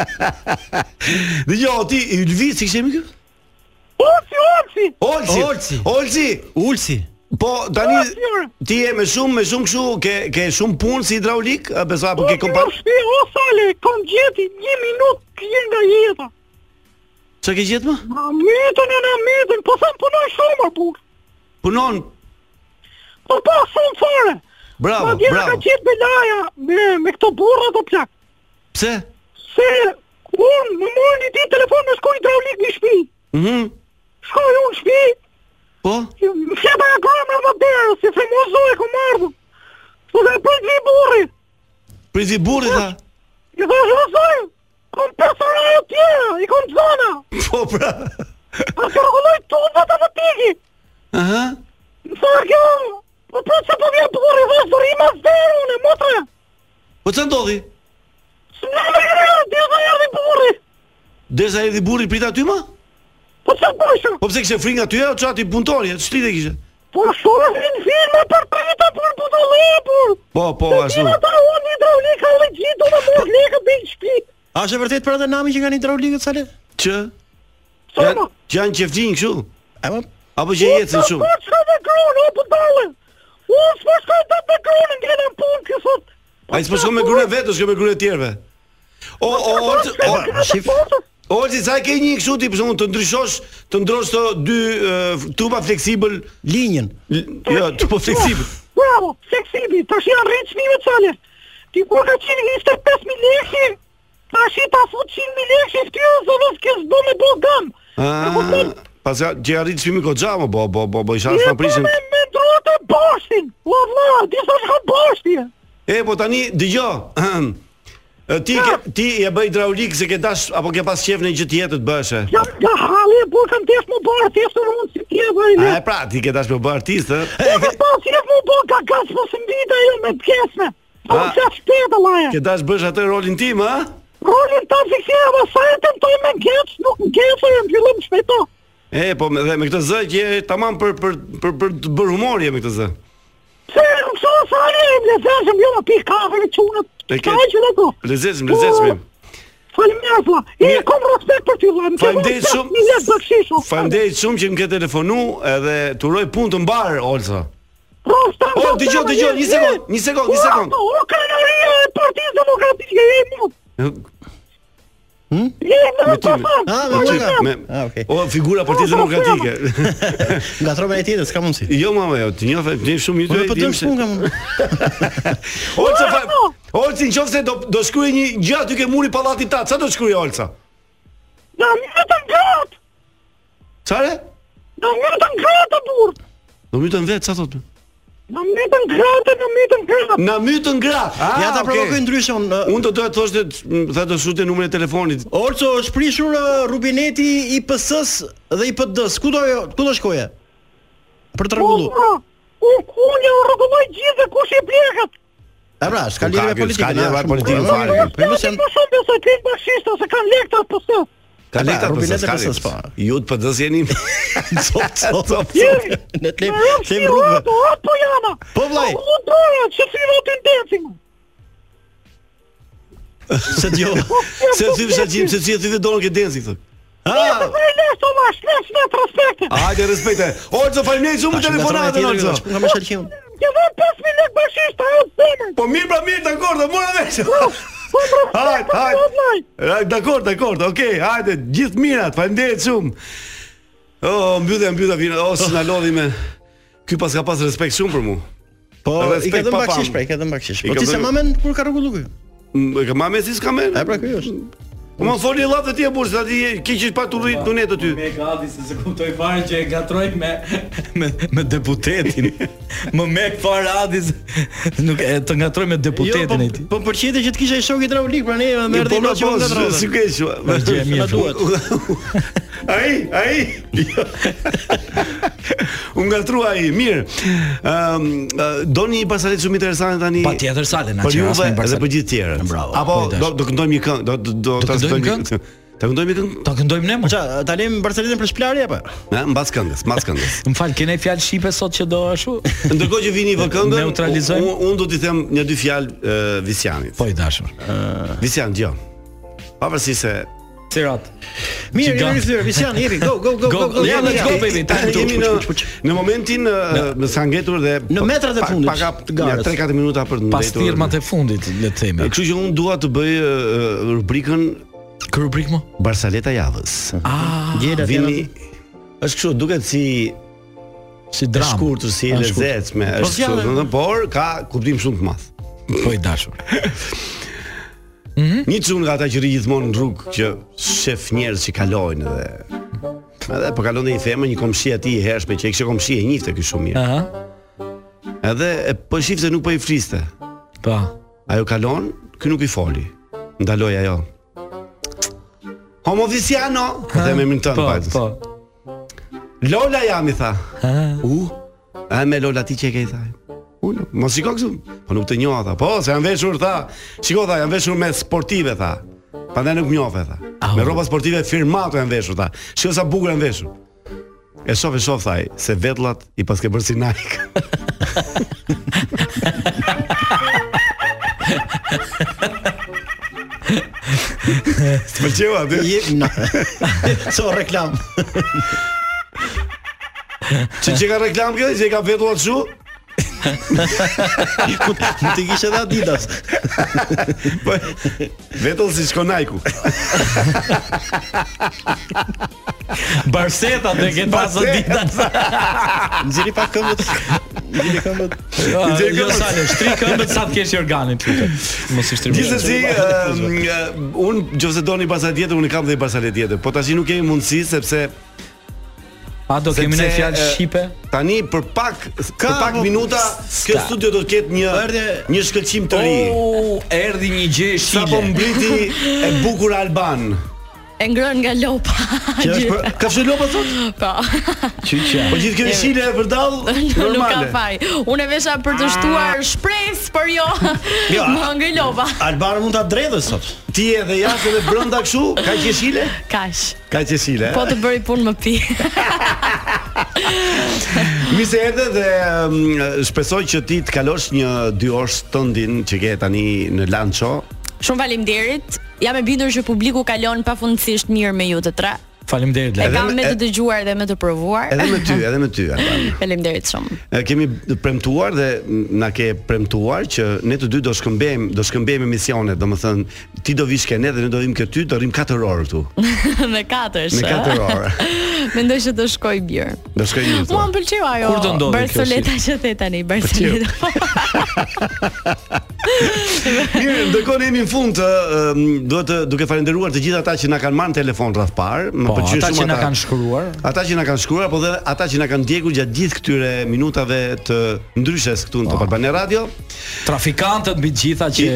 Speaker 8: Dëgjoj, jo, ti Ylvis si kishemi kë?
Speaker 15: Oci, oci!
Speaker 8: Olsi.
Speaker 4: Olsi.
Speaker 8: Olsi.
Speaker 4: Ulsi.
Speaker 8: Po tani
Speaker 15: Olsi, ore.
Speaker 8: ti je me shumë me shumë kështu ke ke shumë punë si hidraulik, a besa apo
Speaker 15: Po
Speaker 8: ke kompa?
Speaker 15: shpi, o sale, kom gjeti një minutë kje nga jeta.
Speaker 8: Çka ke gjetë më?
Speaker 15: Ma mitën e në mitën, po se më punoj shumë, buk.
Speaker 8: Punon.
Speaker 15: Po pa po, shumë fare.
Speaker 8: Bravo,
Speaker 15: Ma dje
Speaker 8: bravo.
Speaker 15: ka qenë belaja me, me këto burra apo plak.
Speaker 8: Pse?
Speaker 15: Se unë më morë një ditë telefon me shkoj hidraulik në shpi.
Speaker 8: Mhm.
Speaker 15: Shkoj unë në shpi.
Speaker 8: Po?
Speaker 15: Fjeba ja kërë më më berë, si fremozo e ku mardhë. Po dhe për vi burri. Po,
Speaker 8: Priti burri tha.
Speaker 15: I dhe shëzoj, kom persona e tjera, i kom zona.
Speaker 8: Po pra.
Speaker 15: A kërkulloj tubat apo tiki.
Speaker 8: Aha.
Speaker 15: Më thërë kjo, po po që po vjen burri, dhe zërima zderë unë, motre.
Speaker 8: Po ç'a ndodhi?
Speaker 15: Së më në kërë, dhe dhe erdi burri.
Speaker 8: Derisa erdhi burri prit aty më?
Speaker 15: Po ç'a bëshë?
Speaker 8: Po pse kishe frikë aty apo çati puntori? Ç'lidhe kishe?
Speaker 15: Po shumë në filme për prita për budolapur.
Speaker 8: Po, po, ashtu.
Speaker 15: Gjitha ta unë hidraulika dhe gjithë unë mërë lekë dhe i shpi.
Speaker 4: A është e vërtet për atë nami që kanë hidraulikët sale?
Speaker 8: Që? Janë janë qeftin kështu.
Speaker 4: po.
Speaker 8: Apo që jetën
Speaker 15: Po
Speaker 8: shumë.
Speaker 15: shkoj dhe grunë, o budale. Unë s'po shkoj dhe dhe grunë, nga në punë kjo sot.
Speaker 8: Ai s'po shkon me gruan vetë, shkon me gruan e tjerëve. O o o o shif. Olti sa ke një kështu ti për shkakun të ndryshosh, të ndrosh të dy eh, tuba fleksibël
Speaker 4: linjën.
Speaker 8: Jo, të po fleksibël.
Speaker 15: Bravo, seksibi, tash janë rritë shmime cale. Ti kur ka qenë 25.000 lekë, tash i ta fut 100.000 lekë, kjo zonës kjo s'do me bo gamë.
Speaker 8: Ah, pas ka që arrit çmimi goxha më bo bo bo bo isha s'na prishin.
Speaker 15: Me, me ndruat e boshtin, o vla, disa shka boshtje.
Speaker 8: E po tani dëgjoj. Eh, Ti ke, ti je bëj hidraulik se ke dash apo ke pas qef në një gjë tjetër të bësh. e?
Speaker 15: Jam nga halli e burë, kam tesh më bërë, tesh të rëmën si tje bërë
Speaker 8: A e pra, ti ke dash me bë artist, ë?
Speaker 15: Po me po si e më bërë, ka gaz po së mbita jo me pjesme. Po
Speaker 8: A.
Speaker 15: që shtetë laje.
Speaker 8: Ke dash bësh atë rolin tim, ë?
Speaker 15: Rolin ta fiksera, ma sa e tentoj me ngecë, nuk ngecë, e më fillim shpeto.
Speaker 8: E, po me, dhe me këtë zë që je tamam për për për për të bërë humor je me këtë zë.
Speaker 15: Se e më këso sa e më lezeshëm, jo ma pi kafe me qunët.
Speaker 8: E ke-
Speaker 15: Ka e që dhe ko. Po,
Speaker 8: Lezetshëm, lezetshëm.
Speaker 15: Faleminderit vlla. E kom respekt për ty vlla. më ke
Speaker 8: Faleminderit
Speaker 15: respekt,
Speaker 8: shumë.
Speaker 15: Mi lë bakshishu.
Speaker 8: Faleminderit shumë që më ke telefonu edhe të uroj punë të mbar Olsa. O, dëgjoj, dëgjoj, një sekond, një sekond, një sekond.
Speaker 15: O, krenaria e partijës demokratike, e mu.
Speaker 8: Hm?
Speaker 15: Je, në,
Speaker 8: Me ty.
Speaker 15: po, po,
Speaker 8: Ah,
Speaker 15: po,
Speaker 8: me ty.
Speaker 15: po.
Speaker 8: Me.
Speaker 4: Ah, okay. Ah,
Speaker 8: O, figura partisë demokratike.
Speaker 4: Nga tropa e tjetër s'ka mundsi.
Speaker 8: Jo mama, jo, ti njoh, ti shumë mirë.
Speaker 4: Po
Speaker 8: ty,
Speaker 4: po
Speaker 8: dim
Speaker 4: dëm
Speaker 8: se-
Speaker 4: shumë kam.
Speaker 8: Olca, fa... Olci, në qoftë se do do shkruaj një gjë aty ke muri pallatit tat, çfarë do shkruaj Olca?
Speaker 15: Na mirë të ngratë,
Speaker 8: Çfarë?
Speaker 15: na mirë të ngratë, burë.
Speaker 8: Do mytën vetë, çfarë thotë?
Speaker 15: Na mirë të ngratë, na mirë të ngratë.
Speaker 8: Na mytën gratë. Ah,
Speaker 4: Ja ta provokoj ndryshe unë.
Speaker 8: Unë do doja të thoshte tha do shute numrin e telefonit.
Speaker 4: Orco është prishur ë, rubineti i PS-s dhe i PD-s. Ku do ku do shkoje? Për të rregullu.
Speaker 15: Unë unë e rregulloj gjithë dhe kush i bleket.
Speaker 4: E pra, s'ka
Speaker 8: Nuk Po, ka
Speaker 4: lidhje me
Speaker 8: kjo,
Speaker 4: politikën.
Speaker 8: s'ka lidhje
Speaker 4: a,
Speaker 8: me
Speaker 4: shumë-
Speaker 8: politikën
Speaker 4: Po,
Speaker 8: fare.
Speaker 4: po, po, Po mos
Speaker 15: Po shumë besoj të jetë bashkishtë ose kanë lekë të pësë.
Speaker 8: Ka lekta
Speaker 4: Pa,
Speaker 8: për
Speaker 4: rubinet
Speaker 8: së
Speaker 4: e
Speaker 8: skali.
Speaker 4: PS-s, po.
Speaker 8: Ju të pëdës jeni
Speaker 4: Cop, cop, cop.
Speaker 15: Jeri,
Speaker 4: Ne të lejmë-
Speaker 15: me rëmë
Speaker 4: lejmë
Speaker 15: si
Speaker 4: rrugëve.
Speaker 15: rato, atë po jana.
Speaker 4: Po, vllai.
Speaker 15: Unë doja që si vatin decim.
Speaker 8: Se
Speaker 4: jo-
Speaker 8: djo Se ty vësha qim Se ty e ty dhe donë këtë densi këtë
Speaker 15: Nëse për e leshtë o ma shlesh në të respekte.
Speaker 8: Hajde, respekte Olco, faleminderit shumë për telefonatën Olco
Speaker 4: Nga më shëlqim.
Speaker 15: Një dhe 5.000 lekë bashkishtë, ajo të bëmën.
Speaker 8: Po mirë pra mirë, dakor, dhe mora vesh
Speaker 15: Po më
Speaker 8: Hajde,
Speaker 15: respekt,
Speaker 8: hajde.
Speaker 15: po vllai.
Speaker 8: Ra- Dakor, dakor, okej, hajde Gjithë mirat, faleminderit shumë O, mbyllë, mbyllë, vina O, si na lodhi me Ky pas ka pas respekt shumë për mu
Speaker 4: Po i
Speaker 8: Respekt
Speaker 4: ka dhënë
Speaker 8: pa
Speaker 4: bakshish,
Speaker 8: famë.
Speaker 4: pra, i ka dhënë bakshish.
Speaker 8: I
Speaker 4: Po
Speaker 8: ka
Speaker 4: ti se
Speaker 8: dhënë-
Speaker 4: mamen kur ka rregullu ky?
Speaker 8: M- E ka mamë si s'ka merë
Speaker 4: E pra ky është.
Speaker 8: Po më foli llatë ti e burrë, sa ti je- ke që pak të rrit tunet aty.
Speaker 10: Me gati se se kuptoj fare që e gatroj me
Speaker 3: me me deputetin. më mek fare Adi se- nuk e të ngatroj me
Speaker 4: Jo, po
Speaker 3: deputetin e tij.
Speaker 4: po pëlqete që të kisha i shok hidraulik, pra ne më erdhi
Speaker 8: po,
Speaker 4: në që
Speaker 8: po,
Speaker 4: unë nga trova.
Speaker 8: si ke që?
Speaker 3: Është gjë e mirë.
Speaker 8: Ai, ai. Unë ngatrua ai, mirë. Ëm, ë, doni një pasardhë shumë interesante tani.
Speaker 3: Patjetër Sale na
Speaker 8: Për
Speaker 3: qeras
Speaker 8: juve
Speaker 3: në Barcelona.
Speaker 8: edhe për gjithë tjerët.
Speaker 3: Bravo,
Speaker 8: Apo
Speaker 3: po i dash.
Speaker 8: do do këndojmë një këngë, do do do
Speaker 3: Do këndojmë
Speaker 8: këngë. Ta këndojmë një këngë?
Speaker 3: Ta këndojmë ne më.
Speaker 4: Ça, ta lëm Barcelonën për shplarje apo?
Speaker 8: Na, mbas këngës, mbas këngës.
Speaker 3: Më fal, kene fjalë shipe sot që do ashtu?
Speaker 8: Ndërkohë që vini vë këngën,
Speaker 3: Neutralizojmë?
Speaker 8: unë un do t'i them një dy fjalë ë, Visianit.
Speaker 3: Po i dashur.
Speaker 8: Visian, djo. Pavarësisht se
Speaker 3: Sirat.
Speaker 4: Mirë,
Speaker 3: Gigant.
Speaker 4: jemi rikthyer. Visian, jepi, go, go, go, go, go.
Speaker 8: Ja,
Speaker 4: jemi,
Speaker 8: let's go
Speaker 4: jemi.
Speaker 8: baby. Tani jemi në në momentin ë, me sa ngjetur dhe
Speaker 4: Në metrat e
Speaker 8: pak-
Speaker 4: fundit
Speaker 8: Paka
Speaker 4: të garës.
Speaker 8: 3-4 minuta për të
Speaker 3: Pas
Speaker 8: ndërtuar.
Speaker 3: firmat e fundit, le të themi.
Speaker 8: Kështu që unë dua të bëj ë, ë, rubrikën
Speaker 3: Kë rubrikë më?
Speaker 8: Barsaleta e javës.
Speaker 3: Ah,
Speaker 4: Gjela
Speaker 8: Vini është kështu, duket si
Speaker 3: si dramë.
Speaker 8: E shkurtër, si e
Speaker 3: Është shkurtër.
Speaker 8: lezetshme,
Speaker 3: Po,
Speaker 8: është
Speaker 3: zjarre-
Speaker 8: kështu, domethënë, por ka kuptim shumë të madh.
Speaker 3: Po i dashur.
Speaker 8: Mhm. Një çun nga ata që ri gjithmonë në rrugë që shef njerëz që kalojnë dhe edhe po kalon një femër, një komshi aty i hershme që e kishte komshi e njifte ky shumë mirë.
Speaker 3: Aha.
Speaker 8: Edhe e, po e shifte nuk po i friste.
Speaker 3: Po.
Speaker 8: Ajo kalon, ky nuk i foli. Ndaloi ajo. Homo Viciano, po them emrin tënd
Speaker 6: po,
Speaker 8: pak. Po. Lola jam i tha. U? A me Lola ti që e ke i tha? Unë, mos shiko këtu. Po nuk të njoha tha. Po, se janë veshur tha. Shiko tha, janë veshur me sportive tha. Prandaj nuk njohve tha. Me rroba sportive firmato janë veshur tha. Shiko sa bukur janë veshur. E shof e shof thaj, se vetllat i paske bërë si Nike. Të pëlqeu aty?
Speaker 4: Jep na. So reklam.
Speaker 8: Që që ka reklam kjo, që i ka vetuar kështu?
Speaker 4: Mund të kishe edhe Adidas.
Speaker 8: po vetëm si shkon Nike-u.
Speaker 10: Barseta dhe ke pasë ditën.
Speaker 4: Nxjerri pa këmbët.
Speaker 10: Nxjerri
Speaker 4: Nxjerri këmbët.
Speaker 10: këmbët. Ah, jo, Sale, shtri këmbët sa të kesh organin lutem. Mos i Po, shtrimi.
Speaker 8: Gjithsesi, ehm, ëm, un nëse doni pasaj tjetër, unë kam dhe pasaj tjetër, po tash nuk kemi mundësi sepse
Speaker 10: A do kemi ne fjalë shqipe?
Speaker 8: Tani për pak për pak
Speaker 10: po,
Speaker 8: minuta kjo
Speaker 10: s'ka. Po
Speaker 8: studio do të ketë një një shkëlqim të ri.
Speaker 10: O, erdhi një gjë e shile.
Speaker 8: Sa po mbriti e bukur alban.
Speaker 17: E ngrën nga lopa.
Speaker 8: Që është për- ka fshë lopa sot?
Speaker 17: Po.
Speaker 8: Çiçja. Po gjithë kjo e shile e përdall
Speaker 17: Nuk ka
Speaker 8: normale. Ah.
Speaker 17: faj. Unë e vesha për të shtuar shpresë, por jo.
Speaker 8: Jo,
Speaker 17: Më ngri lopa.
Speaker 4: Albana mund ta dredhë sot.
Speaker 8: Ti edhe jashtë edhe brenda kështu, ka qeshile?
Speaker 17: Kaç.
Speaker 8: Ka eh? qeshile.
Speaker 17: Po të bëri punë më pi.
Speaker 8: Mi se erdhe dhe mm, shpresoj që ti të kalosh një dy orë tëndin që ke tani në Lancho.
Speaker 17: Shumë faleminderit. Jam e bindur që publiku kalon pafundësisht mirë me ju të tre.
Speaker 10: Faleminderit.
Speaker 17: E
Speaker 8: Edhe
Speaker 17: kam
Speaker 8: me-
Speaker 17: me
Speaker 8: e-
Speaker 17: të dëgjuar dhe me të provuar.
Speaker 8: Edhe me ty, edhe me ty. Alban.
Speaker 17: Faleminderit shumë.
Speaker 8: E, Kemi premtuar dhe mm, na ke premtuar që ne të dy do shkëmbejmë, do shkëmbejmë emisionet, domethënë ti do vish ke ne dhe ne do vim ke ty, do rrim 4 orë këtu.
Speaker 17: me katërsh.
Speaker 8: Me
Speaker 17: ë?
Speaker 8: katër orë.
Speaker 17: eh? Mendoj që do shkoj mirë.
Speaker 8: Do shkoj një.
Speaker 17: Mua më pëlqeu ajo.
Speaker 8: Kur do ndodhi kjo
Speaker 17: Barceleta që the tani, Barceleta.
Speaker 8: Mirë, ndërkohë ne jemi në fund të ëm, duhet të duke falenderuar të gjithë ata që na kanë marrë në telefon rreth parë, më
Speaker 10: Po,
Speaker 8: pëlqyn
Speaker 10: ata
Speaker 8: shumë
Speaker 10: që na kanë shkruar.
Speaker 8: Ata që na kanë shkruar, po dhe ata që na kanë ndjekur gjatë gjithë këtyre minutave të ndryshes këtu në Top Albania Radio.
Speaker 10: Po. Trafikantët mbi të gjitha që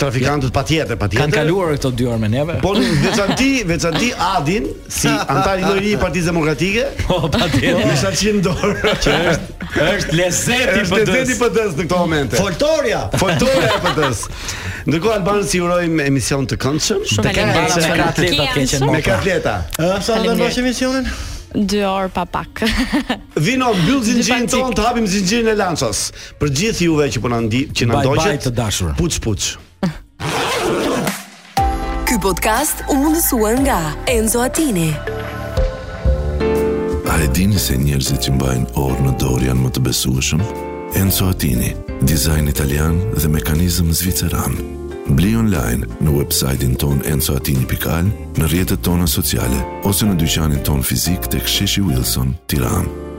Speaker 8: trafikantët patjetër, patjetër.
Speaker 10: Kan kaluar këto dy orë me neve.
Speaker 8: Po veçanti, veçanti Adin si antari i ri i Partisë Demokratike.
Speaker 10: Po patjetër.
Speaker 8: Me shaqin dorë.
Speaker 10: Që është- është lezeti i
Speaker 8: Është
Speaker 10: PD-s.
Speaker 8: lezeti i PD-s në këto momente.
Speaker 4: Foltoria.
Speaker 8: Foltoria e PD-s. Ndërkohë Albanës i urojmë emision të këndshëm.
Speaker 17: Shumë Të faleminderit. këndshëm.
Speaker 8: Me katleta të keqen. Me katleta.
Speaker 4: Ë, sa do të bësh emisionin?
Speaker 17: 2 orë pa pak.
Speaker 8: Vino mbyll zinxhirin ton, të hapim zinxhirin e lanças. Për gjithë juve që po na ndi, që na
Speaker 10: Bye, bye,
Speaker 8: ndoqët.
Speaker 10: të dashur.
Speaker 8: Puç puç.
Speaker 1: Ky podcast u mundësua nga Enzo Attini.
Speaker 2: A e dini se njerëzit që mbajnë orë në dorë janë më të besueshëm? Enzo Attini, dizajn italian dhe mekanizëm zviceran. Bli online në website-in ton enzoatini.al, në rjetët tona sociale, ose në dyqanin ton fizik të ksheshi Wilson, tiranë.